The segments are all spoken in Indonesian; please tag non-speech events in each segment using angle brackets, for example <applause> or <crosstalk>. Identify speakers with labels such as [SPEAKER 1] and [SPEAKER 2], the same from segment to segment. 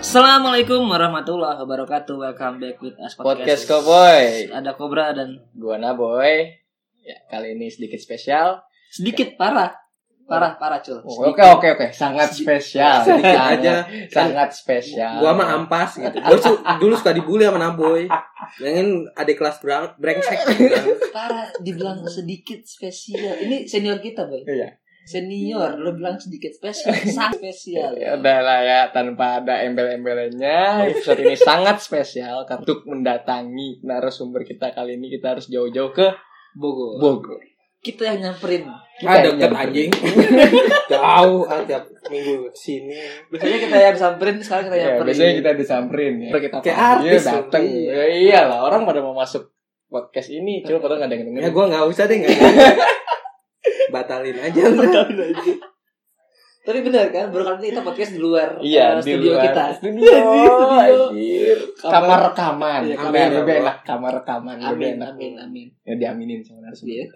[SPEAKER 1] Assalamualaikum warahmatullahi wabarakatuh. Welcome back with us
[SPEAKER 2] Podcast Cowboy.
[SPEAKER 1] Ada Cobra dan
[SPEAKER 2] Gua Naboy. Ya, kali ini sedikit spesial.
[SPEAKER 1] sedikit parah. Parah, parah cul.
[SPEAKER 2] Oh, Oke,
[SPEAKER 1] Sedikit.
[SPEAKER 2] oke, oke. Sangat spesial.
[SPEAKER 3] Oh, <laughs> Sedikit
[SPEAKER 2] Sangat-
[SPEAKER 3] aja.
[SPEAKER 2] Sangat spesial.
[SPEAKER 3] gua mah ampas gitu. Gua su- dulu suka dibully sama Naboy. Pengen adik kelas brang- brengsek.
[SPEAKER 1] Parah dibilang sedikit spesial. Ini senior kita, Boy.
[SPEAKER 2] Iya.
[SPEAKER 1] Senior lo bilang sedikit
[SPEAKER 2] <laughs>
[SPEAKER 1] spesial, sangat spesial.
[SPEAKER 2] Ya udah lah ya, tanpa ada embel-embelnya. Episode ini sangat spesial. karena Untuk mendatangi narasumber kita kali ini, kita harus jauh-jauh ke
[SPEAKER 1] Bogor.
[SPEAKER 2] Bogor.
[SPEAKER 1] Kita yang nyamperin.
[SPEAKER 2] Kita
[SPEAKER 3] Ah,
[SPEAKER 2] yang
[SPEAKER 3] deket
[SPEAKER 2] nyamperin.
[SPEAKER 3] anjing. Jauh ah, tiap minggu sini.
[SPEAKER 1] Biasanya kita yang samperin, sekarang kita yang
[SPEAKER 2] Ya,
[SPEAKER 1] nyamperin.
[SPEAKER 2] biasanya kita disamperin ya. Kita
[SPEAKER 3] Kayak
[SPEAKER 2] panggil,
[SPEAKER 3] artis,
[SPEAKER 2] dateng.
[SPEAKER 3] iya.
[SPEAKER 2] Ya, iyalah, orang pada mau masuk podcast ini. Cuma padahal nggak ada yang
[SPEAKER 3] Ya
[SPEAKER 2] dengerin.
[SPEAKER 3] gua nggak usah deh nggak. Batalin aja.
[SPEAKER 1] Tapi benar kan, baru kali ini kita podcast di luar eh,
[SPEAKER 2] Iya, di
[SPEAKER 1] studio
[SPEAKER 2] luar.
[SPEAKER 1] kita.
[SPEAKER 3] <laughs>
[SPEAKER 2] Studio, Iya.
[SPEAKER 1] Studio.
[SPEAKER 2] anjir.
[SPEAKER 1] Kamar.
[SPEAKER 2] Kamar rekaman.
[SPEAKER 1] Iya,
[SPEAKER 2] Kamar
[SPEAKER 3] kamar.
[SPEAKER 2] lebih enak kamar rekaman. lebih
[SPEAKER 1] Amin,
[SPEAKER 2] enak.
[SPEAKER 1] amin, amin.
[SPEAKER 2] Ya diaminin sama narasumber.
[SPEAKER 1] Iya.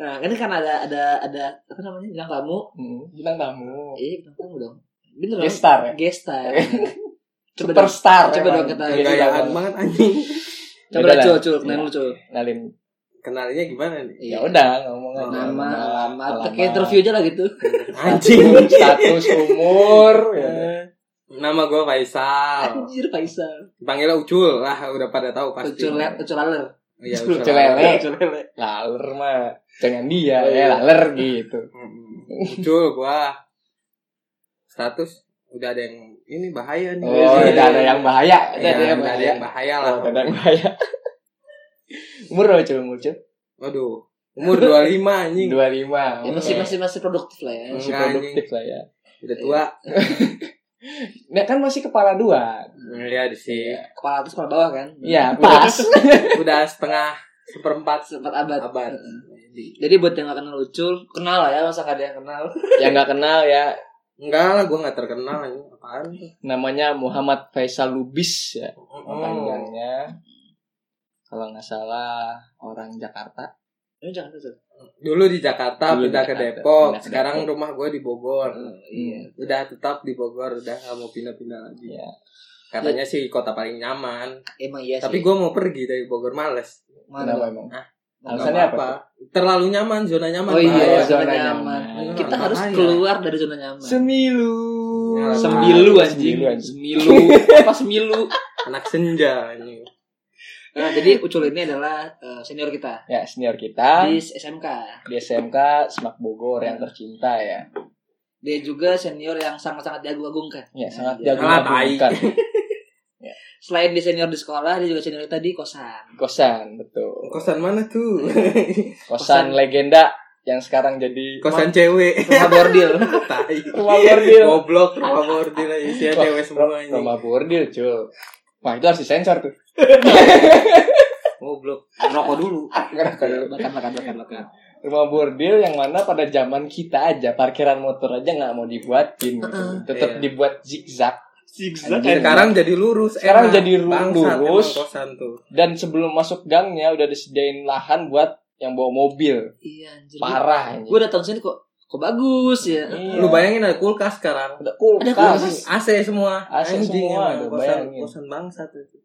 [SPEAKER 1] Nah, ini kan ada ada ada apa namanya bilang kamu.
[SPEAKER 2] Hmm, bintang tamu.
[SPEAKER 1] Iya, bilang kamu dong. Bener dong.
[SPEAKER 2] Guest star ya.
[SPEAKER 1] Gesta.
[SPEAKER 3] <laughs>
[SPEAKER 1] Coba dong.
[SPEAKER 2] Superstar.
[SPEAKER 1] coba
[SPEAKER 2] emang.
[SPEAKER 1] dong kita-
[SPEAKER 2] Iya,
[SPEAKER 3] Gayaan
[SPEAKER 2] iya.
[SPEAKER 3] banget anjing.
[SPEAKER 1] Coba
[SPEAKER 2] Yaudah
[SPEAKER 1] lah,
[SPEAKER 2] lah.
[SPEAKER 1] cul, cul,
[SPEAKER 3] Iya.
[SPEAKER 1] kenalin lu cul.
[SPEAKER 3] Ya
[SPEAKER 1] Iya.
[SPEAKER 2] Kenalin.
[SPEAKER 3] Kenalinnya gimana nih?
[SPEAKER 2] Ya udah ngomong aja.
[SPEAKER 1] Nama, alamat,
[SPEAKER 2] alamat,
[SPEAKER 1] kayak interview
[SPEAKER 2] <laughs>
[SPEAKER 1] aja lah gitu.
[SPEAKER 3] Anjing.
[SPEAKER 2] Status umur. ya.
[SPEAKER 1] Eh.
[SPEAKER 3] Nama gua Faisal.
[SPEAKER 1] Anjir, Faisal.
[SPEAKER 3] Panggilnya Ucul lah, udah pada tahu pasti.
[SPEAKER 1] Ucul, le- ucul laler.
[SPEAKER 3] Iya,
[SPEAKER 2] Ucul
[SPEAKER 3] Ucul
[SPEAKER 2] lele.
[SPEAKER 1] Ucul lele.
[SPEAKER 2] Laler mah. Jangan dia
[SPEAKER 3] Oh,
[SPEAKER 2] ya
[SPEAKER 3] iya.
[SPEAKER 2] laler
[SPEAKER 1] <laughs>
[SPEAKER 2] gitu.
[SPEAKER 3] <laughs> Mm-mm. Ucul gua status udah ada yang ini bahaya nih.
[SPEAKER 2] Oh,
[SPEAKER 3] Iya.
[SPEAKER 2] udah ada yang bahaya.
[SPEAKER 3] Iya,
[SPEAKER 2] Udah
[SPEAKER 3] udah ada yang bahaya lah.
[SPEAKER 2] Oh, udah ada yang bahaya. <laughs> Umur berapa coba umur coba?
[SPEAKER 3] Waduh. Umur 25 anjing.
[SPEAKER 2] 25.
[SPEAKER 1] Ya,
[SPEAKER 2] oke.
[SPEAKER 1] masih masih masih produktif lah ya.
[SPEAKER 3] Hmm.
[SPEAKER 2] masih
[SPEAKER 3] Enggak,
[SPEAKER 2] produktif lah ya.
[SPEAKER 3] Udah tua.
[SPEAKER 2] Nah kan masih kepala dua.
[SPEAKER 3] Iya di sini.
[SPEAKER 1] Kepala atas kepala bawah kan.
[SPEAKER 2] Iya pas.
[SPEAKER 3] Udah setengah seperempat
[SPEAKER 1] Sempat abad.
[SPEAKER 3] abad.
[SPEAKER 1] Jadi buat yang gak kenal Ucul, kenal lah ya, masa gak ada yang
[SPEAKER 3] <laughs>
[SPEAKER 1] kenal.
[SPEAKER 2] yang nggak kenal <laughs> ya
[SPEAKER 3] Enggak lah, gua nggak terkenal anjing. Apaan? tuh?
[SPEAKER 2] namanya Muhammad Faisal Lubis ya
[SPEAKER 3] Oh.
[SPEAKER 2] panjangnya. Kalau nggak salah orang Jakarta.
[SPEAKER 1] Ini jangan Ucul.
[SPEAKER 3] Dulu di Jakarta,
[SPEAKER 2] Dulu di
[SPEAKER 3] pindah ke
[SPEAKER 2] Jakarta,
[SPEAKER 3] Depok.
[SPEAKER 2] pindah ke
[SPEAKER 3] Sekarang
[SPEAKER 2] Depok. Hmm.
[SPEAKER 3] rumah gua di Bogor.
[SPEAKER 1] Iya.
[SPEAKER 3] Udah tetap di Bogor, udah nggak mau pindah-pindah lagi.
[SPEAKER 2] Iya.
[SPEAKER 3] Katanya sih kota paling nyaman.
[SPEAKER 1] Emang iya sih.
[SPEAKER 3] Tapi gua mau pergi dari Bogor males.
[SPEAKER 1] Mana
[SPEAKER 2] Kenapa emang?
[SPEAKER 3] Ah.
[SPEAKER 2] Alasannya
[SPEAKER 3] Nggak
[SPEAKER 2] apa?
[SPEAKER 3] apa-apa. Terlalu nyaman, zona nyaman.
[SPEAKER 1] Oh
[SPEAKER 2] Bahaya,
[SPEAKER 1] iya,
[SPEAKER 3] Bahaya.
[SPEAKER 1] zona
[SPEAKER 2] zona
[SPEAKER 1] nyaman.
[SPEAKER 2] nyaman.
[SPEAKER 1] Kita
[SPEAKER 3] Zona
[SPEAKER 1] harus
[SPEAKER 3] bahaya.
[SPEAKER 1] keluar dari zona nyaman.
[SPEAKER 2] Semilu.
[SPEAKER 3] Ya,
[SPEAKER 1] Sembilu anjing.
[SPEAKER 2] Semilu, anjing.
[SPEAKER 1] Semilu. Apa semilu?
[SPEAKER 3] Anak senja anjing.
[SPEAKER 1] Nah, jadi Ucul ini adalah eh, senior kita
[SPEAKER 2] Ya senior kita
[SPEAKER 1] di SMK.
[SPEAKER 2] di SMK Semak Bogor yang tercinta ya.
[SPEAKER 1] Dia juga senior yang sangat-sangat diagung-agungkan.
[SPEAKER 2] Ya sangat
[SPEAKER 1] Iya.
[SPEAKER 2] jago
[SPEAKER 3] Alah, tai.
[SPEAKER 2] mengagumkan.
[SPEAKER 1] Selain di senior di sekolah, dia juga senior kita di kosan.
[SPEAKER 2] Kosan betul.
[SPEAKER 3] Kosan mana tuh?
[SPEAKER 1] Kosan.
[SPEAKER 2] Kosan, legenda yang sekarang jadi
[SPEAKER 3] Kosan cewek.
[SPEAKER 1] Rumah bordil.
[SPEAKER 3] <laughs> Tai.
[SPEAKER 2] rumah bordil.
[SPEAKER 3] Goblok rumah bordil aja isinya
[SPEAKER 2] Wah,
[SPEAKER 3] cewek semua ini.
[SPEAKER 2] Iya. Rumah bordil, cuy. Wah, itu harus disensor tuh.
[SPEAKER 3] Goblok.
[SPEAKER 1] Rokok dulu.
[SPEAKER 3] Ah,
[SPEAKER 2] Kenapa dulu?
[SPEAKER 1] Makan, makan, makan, makan.
[SPEAKER 2] Rumah bordil yang mana pada zaman kita aja parkiran motor aja nggak mau dibuatin gitu. Tetap
[SPEAKER 3] Iya.
[SPEAKER 2] dibuat zigzag.
[SPEAKER 3] Anjir, sekarang jadi lurus.
[SPEAKER 2] Sekarang jadi lu-
[SPEAKER 3] Bangsat,
[SPEAKER 2] lurus.
[SPEAKER 3] emang kosan tuh.
[SPEAKER 2] Dan sebelum masuk gangnya udah disediain lahan buat yang bawa mobil.
[SPEAKER 1] Iya, anjir.
[SPEAKER 2] Parah anjing.
[SPEAKER 1] Gue datang sini kok kok bagus ya.
[SPEAKER 2] Iya.
[SPEAKER 3] Lu bayangin ada kulkas sekarang.
[SPEAKER 1] Ada
[SPEAKER 2] Ada kulkas.
[SPEAKER 1] kulkas.
[SPEAKER 3] AC semua.
[SPEAKER 2] AC semua,
[SPEAKER 3] emang
[SPEAKER 2] tuh,
[SPEAKER 3] kosan,
[SPEAKER 2] bayangin.
[SPEAKER 3] kosan bangsat itu.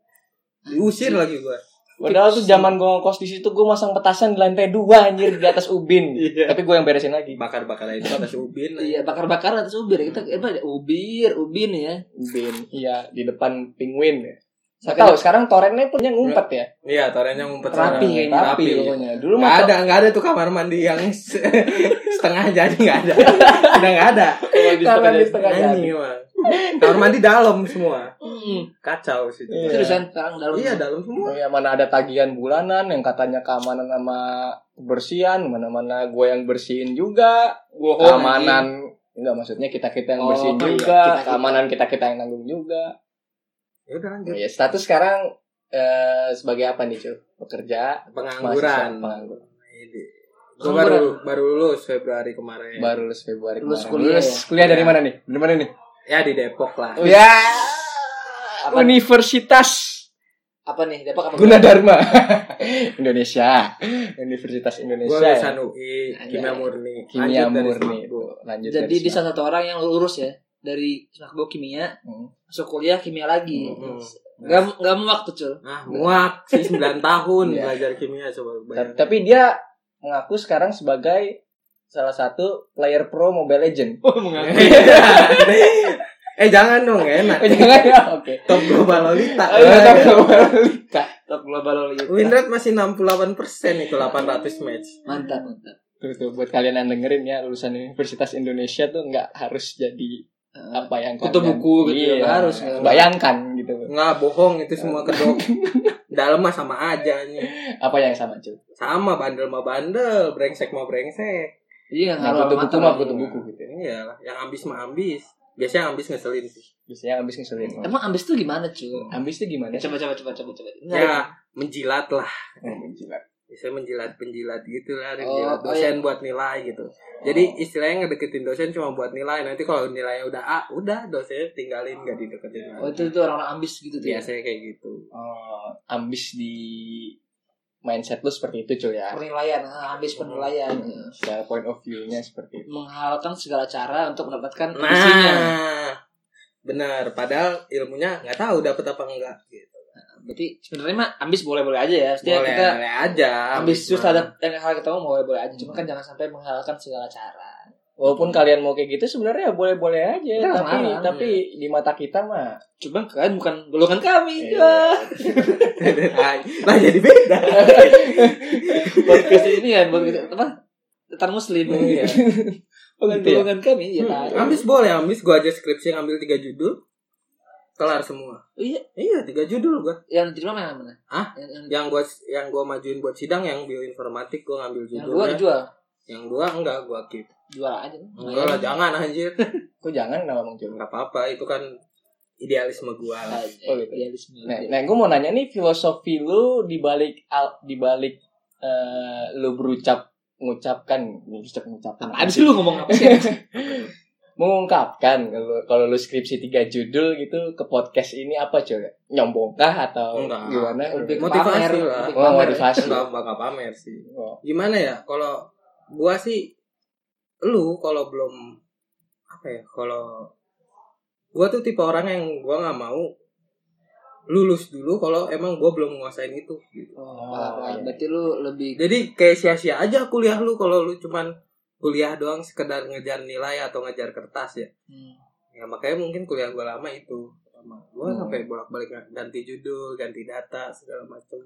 [SPEAKER 3] Diusir lagi gua.
[SPEAKER 2] Padahal tuh zaman gue ngekos di situ gue masang petasan di lantai dua anjir di atas ubin.
[SPEAKER 3] Iya.
[SPEAKER 2] Tapi gue yang beresin lagi.
[SPEAKER 3] Bakar-bakar itu atas ubin.
[SPEAKER 1] Iya, bakar-bakar atas ubir. Kita apa ubir, ubin ya.
[SPEAKER 2] Ubin. Iya, di depan penguin ya. Nggak
[SPEAKER 1] Makanya-
[SPEAKER 2] tahu sekarang torennya punya ngumpet ya.
[SPEAKER 3] Iya, torennya ngumpet
[SPEAKER 1] Rapi
[SPEAKER 3] sana.
[SPEAKER 1] kayaknya.
[SPEAKER 2] Rapi
[SPEAKER 3] Rapi. iya.
[SPEAKER 2] pokoknya. Dulu
[SPEAKER 3] Nggak
[SPEAKER 2] mah
[SPEAKER 3] ada, nggak ada tuh kamar mandi yang <laughs> se- setengah jadi nggak ada. Udah nggak ada.
[SPEAKER 2] kalau di
[SPEAKER 3] Karena
[SPEAKER 2] setengah-
[SPEAKER 3] di setengah
[SPEAKER 2] Anjing.
[SPEAKER 3] jadi. Bang. Kamar mandi dalam semua.
[SPEAKER 1] Mm.
[SPEAKER 3] Kacau sih.
[SPEAKER 2] Iya.
[SPEAKER 1] Terus kan sekarang dalam
[SPEAKER 3] Hmm. Iya, dalam semua.
[SPEAKER 2] Oh ya mana ada tagihan bulanan yang katanya keamanan sama kebersihan mana-mana gue yang bersihin juga
[SPEAKER 3] Bohong. anjing.
[SPEAKER 2] keamanan enggak maksudnya kita kita yang
[SPEAKER 1] Oh,
[SPEAKER 2] bersihin
[SPEAKER 1] iya,
[SPEAKER 2] juga
[SPEAKER 1] kita-kita.
[SPEAKER 2] keamanan kita kita yang nanggung juga
[SPEAKER 3] Ya udah lanjut.
[SPEAKER 1] Iya.
[SPEAKER 2] ya status sekarang eh, sebagai apa nih cuy pekerja
[SPEAKER 3] Pengangguran.
[SPEAKER 2] mahasiswa, penganggur.
[SPEAKER 3] Ini. Gua
[SPEAKER 1] Pengangguran.
[SPEAKER 3] baru baru lulus Februari kemarin.
[SPEAKER 2] baru lulus Februari
[SPEAKER 1] Lulus
[SPEAKER 2] kemarin.
[SPEAKER 1] kuliah
[SPEAKER 2] lulus
[SPEAKER 1] ya?
[SPEAKER 2] kuliah dari
[SPEAKER 3] Iya.
[SPEAKER 2] mana nih dari mana nih
[SPEAKER 3] Ya di Depok lah.
[SPEAKER 2] Oh, ya
[SPEAKER 1] Apa?
[SPEAKER 2] Universitas
[SPEAKER 1] apa nih? Dapat apa?
[SPEAKER 2] Gunadarma <laughs> Indonesia Universitas
[SPEAKER 3] Gua
[SPEAKER 2] Indonesia ya.
[SPEAKER 3] lulusan UI,
[SPEAKER 1] Iya.
[SPEAKER 3] kimia murni.
[SPEAKER 2] kimia
[SPEAKER 3] Lanjut dari
[SPEAKER 2] murni
[SPEAKER 3] Smart Book.
[SPEAKER 2] lanjut
[SPEAKER 1] Jadi
[SPEAKER 2] dari
[SPEAKER 1] di
[SPEAKER 2] Smart.
[SPEAKER 1] salah satu orang yang lurus ya. dari sekolah gua kimia
[SPEAKER 2] Hmm.
[SPEAKER 1] masuk kuliah kimia lagi
[SPEAKER 3] Hmm.
[SPEAKER 1] nggak nggak mau waktu cul
[SPEAKER 3] Ah, muak sih
[SPEAKER 2] <laughs>
[SPEAKER 3] 9 tahun
[SPEAKER 2] Iya.
[SPEAKER 3] belajar kimia coba
[SPEAKER 2] Ta-
[SPEAKER 3] bayangin.
[SPEAKER 2] Tapi dia mengaku sekarang sebagai salah satu player pro Mobile Legend.
[SPEAKER 1] oh
[SPEAKER 3] <laughs> eh jangan dong, nggak
[SPEAKER 2] <laughs>
[SPEAKER 3] enak.
[SPEAKER 1] iya.
[SPEAKER 2] Jangan ya.
[SPEAKER 1] <laughs>
[SPEAKER 2] Oke.
[SPEAKER 3] Top global Lolita.
[SPEAKER 2] Oh, iya, top global.
[SPEAKER 1] <laughs> top global iya. Lolita.
[SPEAKER 3] Win rate masih 68% itu 800 match.
[SPEAKER 1] mantap mantap
[SPEAKER 2] Tuh, tuh, buat kalian yang dengerin ya lulusan Universitas Indonesia tuh nggak harus jadi
[SPEAKER 1] Eh,
[SPEAKER 2] apa yang
[SPEAKER 1] Kutu
[SPEAKER 2] kalian-
[SPEAKER 1] buku gitu,
[SPEAKER 2] Iya,
[SPEAKER 1] nggak harus.
[SPEAKER 2] Bayangkan gitu.
[SPEAKER 3] Nggak bohong itu semua kedok. Dalam mah sama aja nih.
[SPEAKER 2] Apa yang sama cuy?
[SPEAKER 3] Sama bandel mah bandel, brengsek mah brengsek.
[SPEAKER 1] iya
[SPEAKER 2] Yang
[SPEAKER 1] ngaruh
[SPEAKER 2] kutu buku
[SPEAKER 1] mata
[SPEAKER 2] mah
[SPEAKER 1] lah.
[SPEAKER 2] kutu buku gitu.
[SPEAKER 3] Iyalah, yang ambis mah ambis. Biasanya ambis ngeselin sih.
[SPEAKER 2] Biasanya ambis ngeselin.
[SPEAKER 1] emang ambis tuh gimana cul
[SPEAKER 2] Ambis tuh gimana?
[SPEAKER 1] coba coba coba coba coba Nggak,
[SPEAKER 3] Ya, menjilat lah.
[SPEAKER 2] Menjilat.
[SPEAKER 3] Biasanya menjilat-penjilat gitu
[SPEAKER 1] Oh,
[SPEAKER 3] lah, menjilat
[SPEAKER 1] oh,
[SPEAKER 3] dosen buat nilai gitu. Jadi istilahnya ngedeketin dosen cuma buat nilai. Nanti kalau nilainya udah A, udah dosennya tinggalin nggak dideketin
[SPEAKER 1] oh
[SPEAKER 3] lagi.
[SPEAKER 1] itu itu orang-orang ambis gitu tuh ya?
[SPEAKER 3] Biasanya kayak gitu.
[SPEAKER 2] Eh, ambis di mindset lu seperti itu cuy ya.
[SPEAKER 1] penilaian ah, ambis penilaian
[SPEAKER 2] Secara point of view-nya seperti itu.
[SPEAKER 1] menghalalkan segala cara untuk mendapatkan ambisinya
[SPEAKER 3] Nah, benar. Padahal ilmunya nggak tahu dapat apa enggak. Gitu.
[SPEAKER 1] berarti sebenarnya mah ambis boleh-boleh aja ya Maksudnya
[SPEAKER 3] boleh,
[SPEAKER 1] kita
[SPEAKER 3] boleh aja.
[SPEAKER 1] ambisius
[SPEAKER 3] mah. <laughs>
[SPEAKER 1] terhadap yang hal kita mau boleh-boleh aja cuma kan jangan sampai menghalalkan segala cara
[SPEAKER 2] Walaupun kalian mau kayak gitu sebenarnya boleh-boleh aja,
[SPEAKER 1] Nggak
[SPEAKER 2] tapi
[SPEAKER 1] larang,
[SPEAKER 2] tapi
[SPEAKER 1] iya.
[SPEAKER 2] di mata kita mah
[SPEAKER 1] cuma kan bukan golongan kami ya.
[SPEAKER 2] Iya.
[SPEAKER 1] Wah.
[SPEAKER 3] Hai. lah Nah, jadi beda.
[SPEAKER 1] podcast ini kan podcast apa tentang muslim
[SPEAKER 3] Iya.
[SPEAKER 1] bukan
[SPEAKER 2] Gitu ya?
[SPEAKER 1] golongan kami ya
[SPEAKER 2] Hmm.
[SPEAKER 1] Pak.
[SPEAKER 3] ambis boleh, ambis. Gua aja skripsi ngambil tiga judul, kelar semua.
[SPEAKER 1] Oh, iya
[SPEAKER 3] Iya, tiga judul gua.
[SPEAKER 1] yang diterima mana mana
[SPEAKER 3] Hah?
[SPEAKER 1] yang, yang,
[SPEAKER 3] Yang gua yang gua majuin buat sidang yang bioinformatik gua ngambil
[SPEAKER 1] yang Iya.
[SPEAKER 3] judulnya.
[SPEAKER 1] gua jual
[SPEAKER 3] Yang dua enggak gua keep.
[SPEAKER 1] jual aja
[SPEAKER 3] Enggak lah, jangan anjir.
[SPEAKER 1] ya?
[SPEAKER 2] kok jangan kenapa Bang Jul?
[SPEAKER 3] Enggak apa-apa, itu kan idealisme gua
[SPEAKER 1] oh,
[SPEAKER 3] lah.
[SPEAKER 2] Oh, gitu.
[SPEAKER 1] idealisme
[SPEAKER 2] Nah, nah gue mau nanya nih filosofi lu di balik al- di balik eh, lu berucap mengucapkan berucap mengucapkan
[SPEAKER 1] Apaan sih lu ngomong apa sih?
[SPEAKER 2] mengungkapkan kalau kalau lu skripsi tiga judul gitu ke podcast ini apa coba nyombongkah atau
[SPEAKER 3] Enggak.
[SPEAKER 2] gimana
[SPEAKER 1] Lebih ke
[SPEAKER 3] Motivasi
[SPEAKER 1] pamer,
[SPEAKER 3] lah.
[SPEAKER 1] lebih ke
[SPEAKER 2] Oh,
[SPEAKER 1] pamer.
[SPEAKER 2] motivasi.
[SPEAKER 3] Enggak bakal pamer sih.
[SPEAKER 2] Oh,
[SPEAKER 3] gimana ya kalau gua sih lu kalau belum apa ya kalau gua tuh tipe orang yang gua nggak mau lulus dulu kalau emang gua belum nguasain itu gitu.
[SPEAKER 1] Oh,
[SPEAKER 2] Oh, iya.
[SPEAKER 1] berarti lu lebih
[SPEAKER 3] jadi kayak sia-sia aja kuliah lu kalau lu cuman kuliah doang sekedar ngejar nilai atau ngejar kertas ya
[SPEAKER 1] Hmm.
[SPEAKER 3] ya makanya mungkin kuliah gua lama itu lama gua
[SPEAKER 2] Hmm.
[SPEAKER 3] sampai bolak-balik ganti judul ganti data segala macam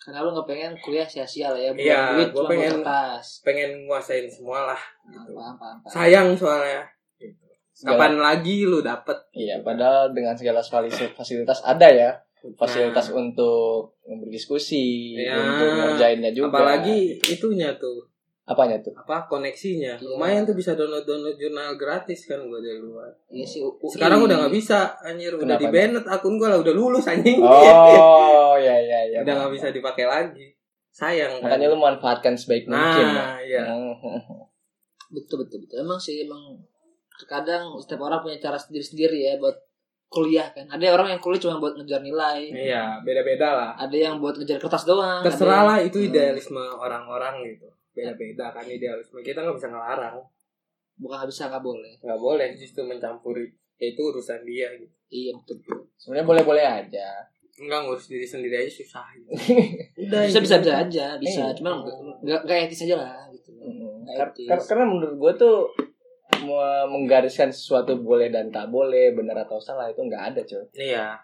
[SPEAKER 1] karena lu nggak pengen kuliah sia-sia lah ya buat
[SPEAKER 3] Iya,
[SPEAKER 1] duit
[SPEAKER 3] gua
[SPEAKER 1] cuma
[SPEAKER 3] pengen- gitu.
[SPEAKER 1] buat kertas
[SPEAKER 3] pengen nguasain semua lah
[SPEAKER 1] Nah, paham paham paham
[SPEAKER 3] sayang soalnya Gitu.
[SPEAKER 2] segala-
[SPEAKER 3] kapan lagi lu dapet
[SPEAKER 2] iya padahal dengan segala fasil- fasilitas ada ya fasilitas
[SPEAKER 3] Nah,
[SPEAKER 2] untuk berdiskusi
[SPEAKER 3] Ya,
[SPEAKER 2] untuk ngerjainnya juga
[SPEAKER 3] apalagi itunya tuh
[SPEAKER 2] apanya
[SPEAKER 3] <laughs>
[SPEAKER 2] tuh
[SPEAKER 3] apa koneksinya
[SPEAKER 1] Iya.
[SPEAKER 3] lumayan tuh bisa download download jurnal gratis kan gue dari luar
[SPEAKER 1] iya sih UI.
[SPEAKER 3] sekarang udah nggak bisa anjir udah
[SPEAKER 2] Kenapa
[SPEAKER 3] di banned akun gue lah udah lulus anjing
[SPEAKER 2] oh ya ya ya
[SPEAKER 3] <laughs> udah nggak bisa dipakai lagi sayang kan?
[SPEAKER 2] makanya lu manfaatkan sebaik mungkin ya.
[SPEAKER 3] nah iya
[SPEAKER 2] Hmm.
[SPEAKER 1] betul betul betul emang sih emang terkadang setiap orang punya cara sendiri sendiri ya buat kuliah kan ada orang yang kuliah cuma buat ngejar nilai
[SPEAKER 3] iya beda beda lah
[SPEAKER 1] ada yang buat ngejar kertas doang ada
[SPEAKER 3] terserah
[SPEAKER 1] yang-
[SPEAKER 3] lah itu
[SPEAKER 1] Hmm.
[SPEAKER 3] idealisme orang-orang gitu beda beda kan idealisme kita nggak bisa ngelarang
[SPEAKER 1] bukan nggak bisa nggak boleh
[SPEAKER 3] nggak boleh justru mencampuri ya itu urusan dia gitu
[SPEAKER 1] iya betul betul
[SPEAKER 2] <laughs> sebenarnya boleh-boleh aja
[SPEAKER 3] nggak ngurus diri sendiri aja susah
[SPEAKER 2] <laughs>
[SPEAKER 3] gitu. Udah,
[SPEAKER 1] bisa
[SPEAKER 3] gitu.
[SPEAKER 1] bisa bisa aja bisa
[SPEAKER 2] Iya.
[SPEAKER 1] cuma nggak nggak etis aja lah gitu
[SPEAKER 2] Mm.
[SPEAKER 1] Nggak
[SPEAKER 2] Kar-
[SPEAKER 1] etis.
[SPEAKER 2] kar- karena menurut gue tuh me- menggariskan sesuatu boleh dan tak boleh benar atau salah itu nggak ada cuy
[SPEAKER 3] Iya.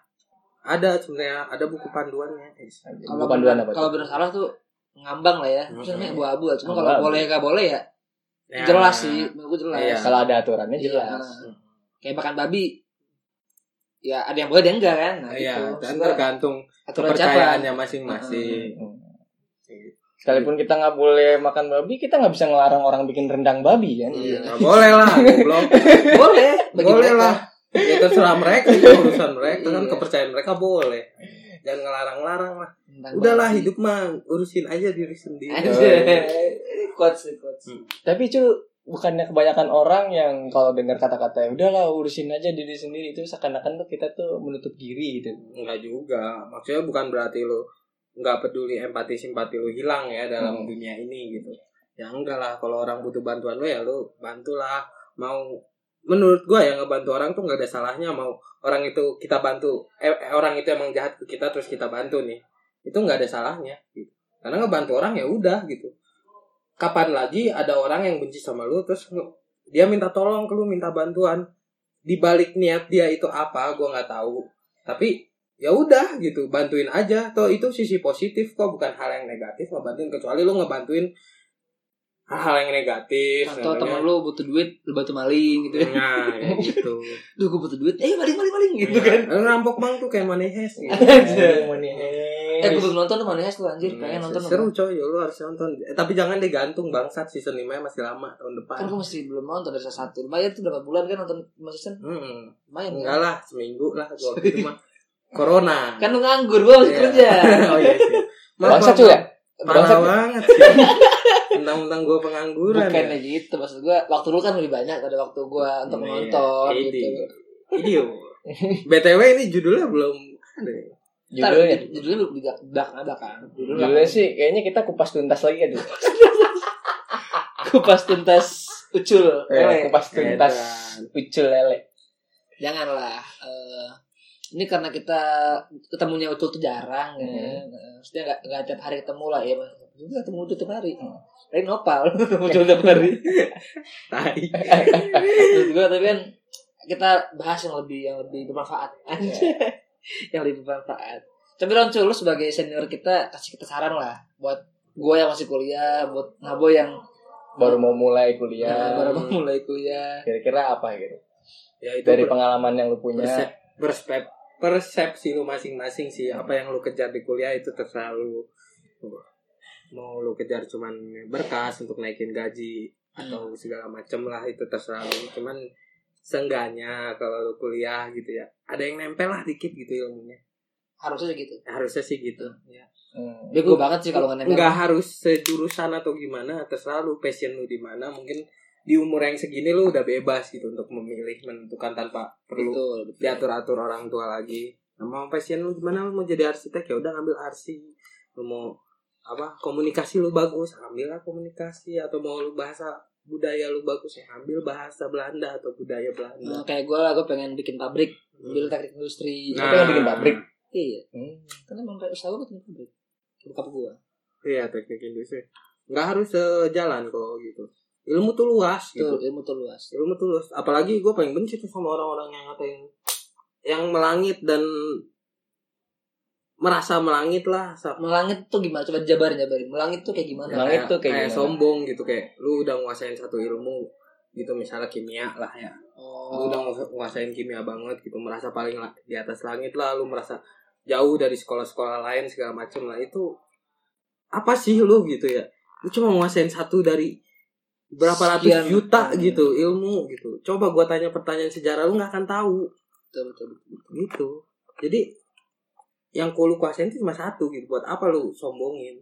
[SPEAKER 3] Ada sebenarnya ada buku panduannya. Eh,
[SPEAKER 1] kalau
[SPEAKER 2] Buku panduan
[SPEAKER 1] benar-
[SPEAKER 2] apa
[SPEAKER 1] kalau
[SPEAKER 2] tuh?
[SPEAKER 1] benar salah tuh ngambang lah ya
[SPEAKER 3] Mm-mm.
[SPEAKER 1] maksudnya abu-abu lah cuma
[SPEAKER 2] Abu-abu.
[SPEAKER 1] kalau boleh nggak boleh ya
[SPEAKER 3] Ya.
[SPEAKER 1] jelas sih menurut gue jelas
[SPEAKER 3] Iya.
[SPEAKER 2] kalau ada aturannya
[SPEAKER 1] Iya.
[SPEAKER 2] jelas
[SPEAKER 1] kayak makan babi ya ada yang boleh ada yang enggak kan nah,
[SPEAKER 3] Iya,
[SPEAKER 1] gitu.
[SPEAKER 3] dan
[SPEAKER 1] Maksudnya
[SPEAKER 3] tergantung
[SPEAKER 1] aturan siapa
[SPEAKER 3] kepercayaannya masing-masing.
[SPEAKER 2] Mm.
[SPEAKER 3] Gitu.
[SPEAKER 2] sekalipun kita nggak boleh makan babi kita nggak bisa ngelarang orang bikin rendang babi kan
[SPEAKER 1] Iya.
[SPEAKER 3] Nggak boleh lah, goblok. <laughs>
[SPEAKER 1] boleh <laughs> bagi
[SPEAKER 3] boleh
[SPEAKER 1] mereka.
[SPEAKER 3] lah. Ya terserah mereka itu urusan mereka kan
[SPEAKER 1] Iya.
[SPEAKER 3] kepercayaan mereka boleh. Jangan ngelarang-larang lah.
[SPEAKER 1] Tentang
[SPEAKER 3] Udahlah
[SPEAKER 1] babi.
[SPEAKER 3] hidup Iya. mah urusin aja diri sendiri.
[SPEAKER 1] Anjay. Quotes, quotes.
[SPEAKER 2] tapi cuy bukannya kebanyakan orang yang kalau dengar kata-kata "Ya udahlah urusin aja diri sendiri itu seakan-akan tuh kita tuh menutup diri gitu
[SPEAKER 3] Enggak juga. Maksudnya bukan berarti lu nggak peduli empati simpati lu hilang ya dalam
[SPEAKER 2] Hmm.
[SPEAKER 3] dunia ini gitu. Ya enggak lah kalau orang butuh bantuan lu ya lu bantulah. Mau menurut gua ya ngebantu orang tuh nggak ada salahnya mau orang itu kita bantu eh, eh, orang itu emang jahat ke kita terus kita bantu nih itu nggak ada salahnya gitu. karena ngebantu orang ya udah gitu kapan lagi ada orang yang benci sama lu terus nge- dia minta tolong ke lu minta bantuan di balik niat dia itu apa gua nggak tahu tapi ya udah gitu bantuin aja toh itu sisi positif kok bukan hal yang negatif ngebantuin kecuali lu ngebantuin hal-hal yang negatif
[SPEAKER 1] Atau
[SPEAKER 3] contohnya.
[SPEAKER 1] temen lu butuh duit, lu bantu maling gitu.
[SPEAKER 3] Nah, kayak gitu.
[SPEAKER 1] Duh, gue butuh duit. Eh, maling, maling, maling <laughs> gitu kan.
[SPEAKER 3] Lu Rampok bang tuh kayak Manehes gitu.
[SPEAKER 1] Eh, gue belum nonton tuh mana lu anjir. Pengen nonton.
[SPEAKER 3] Iya. Seru coy, lu harus nonton. Eh, tapi jangan digantung bangsat season 5 -nya masih lama tahun depan.
[SPEAKER 1] Kan gue masih belum nonton dari salah satu. Lumayan tuh berapa bulan kan nonton lima season.
[SPEAKER 3] Hmm,
[SPEAKER 1] Lumayan
[SPEAKER 3] enggak
[SPEAKER 1] kan.
[SPEAKER 3] lah, seminggu lah gua
[SPEAKER 1] <laughs>
[SPEAKER 3] waktu itu mah. Corona.
[SPEAKER 1] Kan lu nganggur, gue masih
[SPEAKER 3] Iya.
[SPEAKER 1] kerja.
[SPEAKER 3] <laughs> oh iya sih. Maaf,
[SPEAKER 2] Bangsat
[SPEAKER 3] maaf,
[SPEAKER 2] cuy ya?
[SPEAKER 3] maaf.
[SPEAKER 2] Bangsat
[SPEAKER 3] Parah
[SPEAKER 2] ya?
[SPEAKER 3] banget sih. Tentang-tentang gua pengangguran.
[SPEAKER 1] Bukan ya gitu maksud gue. Waktu lu kan lebih banyak ada waktu gue untuk
[SPEAKER 3] Iya,
[SPEAKER 1] nonton
[SPEAKER 3] ini.
[SPEAKER 1] gitu. <laughs>
[SPEAKER 3] Video. BTW ini judulnya belum ada. ya?
[SPEAKER 1] Ntar,
[SPEAKER 2] Judulnya.
[SPEAKER 1] Judulnya lu belak belakang belakang.
[SPEAKER 2] Judulnya sih kayaknya kita kupas tuntas lagi ya, aja.
[SPEAKER 1] Kupas tuntas ucul.
[SPEAKER 2] Eh,
[SPEAKER 1] lele.
[SPEAKER 2] kupas tuntas ucul lele.
[SPEAKER 1] Janganlah. eh, ini karena kita ketemunya ucul tuh jarang kan. Eh, Maksudnya nggak nggak tiap hari ketemu lah ya. Juga ketemu ucul tiap hari. Lain nopal <laughs> ketemu ucul tiap hari. <laughs>
[SPEAKER 3] Tai.
[SPEAKER 1] Terus gue tapi kan kita bahas yang lebih yang lebih bermanfaat. Anjay. <laughs> yang lebih bermanfaat. Tapi Ron, Cul, lu sebagai senior kita kasih kita saran lah buat gue yang masih kuliah, buat Nabo yang
[SPEAKER 2] Baru mau mulai
[SPEAKER 1] Ya,
[SPEAKER 2] kuliah.
[SPEAKER 1] baru <laughs> mau mulai kuliah.
[SPEAKER 2] Kira-kira apa gitu?
[SPEAKER 3] Ya itu
[SPEAKER 2] Dari
[SPEAKER 3] ber-
[SPEAKER 2] pengalaman yang lu punya.
[SPEAKER 1] Ya.
[SPEAKER 3] persep, persep, persepsi lu masing-masing sih apa yang lu kejar di kuliah itu terserah lu mau lu kejar cuman berkas untuk naikin gaji
[SPEAKER 1] Hmm.
[SPEAKER 3] atau segala macem lah itu terserah lu cuman seenggaknya kalau lu kuliah gitu ya ada yang nempel lah dikit gitu ilmunya
[SPEAKER 1] Harusnya gitu.
[SPEAKER 3] harusnya sih gitu ya.
[SPEAKER 2] Hmm.
[SPEAKER 1] Bego banget sih kalau nggak nempel.
[SPEAKER 3] nggak harus sejurusan atau gimana terserah lu passion lu di mana mungkin di umur yang segini lu udah bebas gitu untuk memilih menentukan tanpa perlu
[SPEAKER 1] Betul, betul.
[SPEAKER 3] diatur atur orang tua lagi Nah, mau passion lu gimana lu mau jadi arsitek ya udah ngambil arsi lu mau apa komunikasi lu bagus ambil lah komunikasi atau mau lu bahasa budaya lu bagus ya ambil bahasa Belanda atau budaya
[SPEAKER 1] Nah,
[SPEAKER 3] Belanda
[SPEAKER 1] kayak gue lah, gue pengen bikin pabrik, ambil teknik industri.
[SPEAKER 2] Nah. Hmm, Siapa yang bikin pabrik?
[SPEAKER 1] Iya,
[SPEAKER 2] Hmm.
[SPEAKER 1] kan emang kayak usaha gue bikin pabrik. Buka gue.
[SPEAKER 3] iya teknik industri nggak harus sejalan kok gitu ilmu tuh luas gitu
[SPEAKER 1] Betul, ilmu tuh luas.
[SPEAKER 3] ilmu tuh luas apalagi gue paling benci tuh sama orang-orang yang ngatain yang melangit dan merasa melangit lah sa-
[SPEAKER 1] Melangit tuh gimana? Coba jabarin, jabarin. Melangit tuh Iya, kayak gimana?
[SPEAKER 2] Ya, Melangit
[SPEAKER 3] kayak-
[SPEAKER 2] tuh kayak
[SPEAKER 3] kayak
[SPEAKER 2] gimana?
[SPEAKER 3] sombong gitu kayak lu udah nguasain satu ilmu gitu misalnya kimia lah ya lu
[SPEAKER 1] Oh,
[SPEAKER 3] udah ngu- nguasain kimia banget gitu merasa paling la- di atas langit lah lu merasa jauh dari sekolah-sekolah lain segala macem lah itu apa sih lu gitu ya lu cuma nguasain satu dari berapa ratus
[SPEAKER 1] Sekian.
[SPEAKER 3] juta gitu ilmu gitu coba gua tanya pertanyaan sejarah lu nggak akan tahu
[SPEAKER 1] betul, betul, betul.
[SPEAKER 3] gitu jadi yang ku lu kuasain itu cuma satu gitu buat apa lu sombongin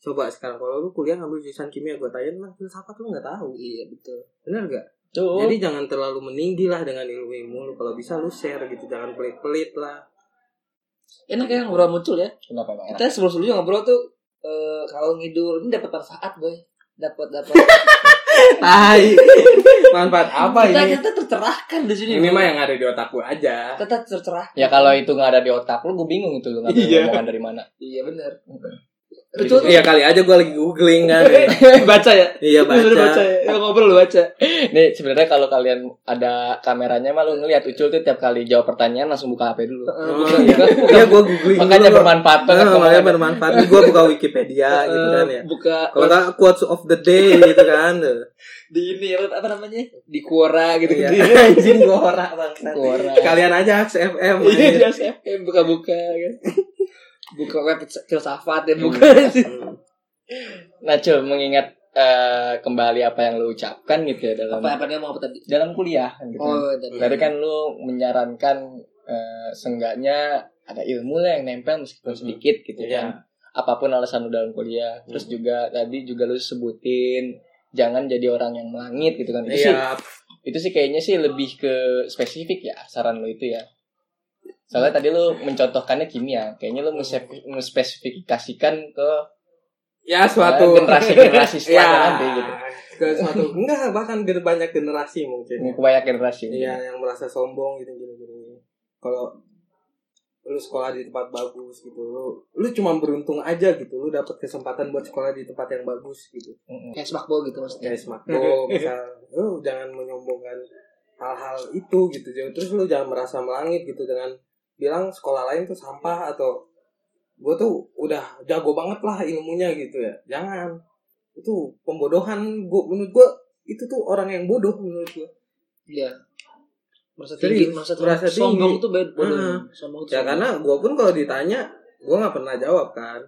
[SPEAKER 3] coba sekarang kalau lu kuliah ngambil jurusan kimia gue tanya tentang filsafat lu nggak tahu
[SPEAKER 1] Iya, betul.
[SPEAKER 3] bener gak
[SPEAKER 2] Tuh.
[SPEAKER 3] jadi jangan terlalu meninggi lah dengan ilmu-ilmu lu kalau bisa lu share gitu jangan pelit-pelit lah
[SPEAKER 1] Enak ya ngobrol muncul ya.
[SPEAKER 2] Kenapa bang?
[SPEAKER 1] Kita sebelum sebelumnya ngobrol tuh eh kalau ngidul ini dapat manfaat boy. Dapat dapat.
[SPEAKER 3] tai <laughs> manfaat apa
[SPEAKER 1] kita,
[SPEAKER 3] ini
[SPEAKER 1] kita tercerahkan di sini.
[SPEAKER 3] ini
[SPEAKER 1] Boy.
[SPEAKER 3] mah yang ada di otak gue aja
[SPEAKER 1] Kita tercerah.
[SPEAKER 2] Ya kalau itu nggak ada di otak lu, gue bingung itu lu ngambil
[SPEAKER 3] Iya.
[SPEAKER 2] omongan dari mana.
[SPEAKER 1] Iya benar.
[SPEAKER 2] Gitu.
[SPEAKER 1] Betul.
[SPEAKER 3] iya kali aja gue lagi googling kan
[SPEAKER 1] baca ya.
[SPEAKER 3] iya
[SPEAKER 1] Bener baca
[SPEAKER 3] baca
[SPEAKER 1] ya. Yang ngobrol lu baca.
[SPEAKER 2] Nih sebenarnya kalau kalian ada kameranya mah lu ngeliat Ucul tuh tiap kali jawab pertanyaan langsung buka HP dulu.
[SPEAKER 3] Oh,
[SPEAKER 1] Bukan,
[SPEAKER 3] iya.
[SPEAKER 1] bukan.
[SPEAKER 3] iya gue googling
[SPEAKER 2] Makanya
[SPEAKER 3] dulu.
[SPEAKER 2] bermanfaat banget.
[SPEAKER 3] Nah, makanya bermanfaat gue buka Wikipedia gitu kan ya
[SPEAKER 1] Eh, buka
[SPEAKER 3] Kalau nggak quotes of the day gitu kan.
[SPEAKER 1] di ini apa namanya? Di Quora gitu gitu.
[SPEAKER 3] Iya. Anjing gua ora bangsat.
[SPEAKER 2] Orang.
[SPEAKER 3] Kalian aja Haks FM.
[SPEAKER 1] Iya,
[SPEAKER 3] anjing.
[SPEAKER 1] di SFM buka-buka
[SPEAKER 3] <laughs>
[SPEAKER 1] kan. Buka web filsafat
[SPEAKER 3] Hmm.
[SPEAKER 1] ya buka. <laughs>
[SPEAKER 2] Nah Cul, mengingat eh, kembali apa yang lu ucapkan gitu ya dalam
[SPEAKER 1] Apa apa dia mau apa tadi?
[SPEAKER 2] dalam kuliah kan gitu.
[SPEAKER 1] Oh,
[SPEAKER 3] iya,
[SPEAKER 1] tadi.
[SPEAKER 2] Tadi kan lu menyarankan eh, seenggaknya ada ilmu lah yang nempel meskipun
[SPEAKER 3] Mhm.
[SPEAKER 2] sedikit gitu
[SPEAKER 3] Iya.
[SPEAKER 2] kan. Apapun alasan lu dalam kuliah. Terus juga tadi juga lu sebutin jangan jadi orang yang melangit gitu kan. Itu sih
[SPEAKER 3] Iya.
[SPEAKER 2] itu sih kayaknya sih lebih ke spesifik ya saran lo itu ya soalnya tadi lo mencontohkannya kimia kayaknya lo menspesifikasikan ke
[SPEAKER 3] ya suatu
[SPEAKER 2] generasi-generasi setelah
[SPEAKER 3] <laughs> Ya,
[SPEAKER 2] nanti gitu.
[SPEAKER 3] ke suatu enggak bahkan ger- banyak generasi mungkin
[SPEAKER 2] Ini kebanyak generasi.
[SPEAKER 3] Iya, yang merasa sombong gitu gini gini. Kalau lu sekolah di tempat bagus gitu, lu lu cuma beruntung aja gitu, lu dapet kesempatan buat sekolah di tempat yang bagus gitu.
[SPEAKER 2] Mm-mm.
[SPEAKER 1] kayak sepak bola gitu maksudnya
[SPEAKER 3] Kayak smartphone, misal lu jangan menyombongkan hal-hal itu gitu. Jangan terus lu jangan merasa melangit gitu dengan bilang sekolah lain tuh sampah atau gue tuh udah jago banget lah ilmunya gitu ya. Jangan. Itu pembodohan gua menurut gua itu tuh orang yang bodoh menurut gua.
[SPEAKER 1] iya merasa
[SPEAKER 3] Serius,
[SPEAKER 1] tinggi merasa,
[SPEAKER 3] merasa tinggi.
[SPEAKER 1] sombong tuh bad bodoh
[SPEAKER 3] Ah.
[SPEAKER 1] sombong tuh
[SPEAKER 3] ya
[SPEAKER 1] sombong.
[SPEAKER 3] karena gue pun kalau ditanya gue nggak pernah jawab kan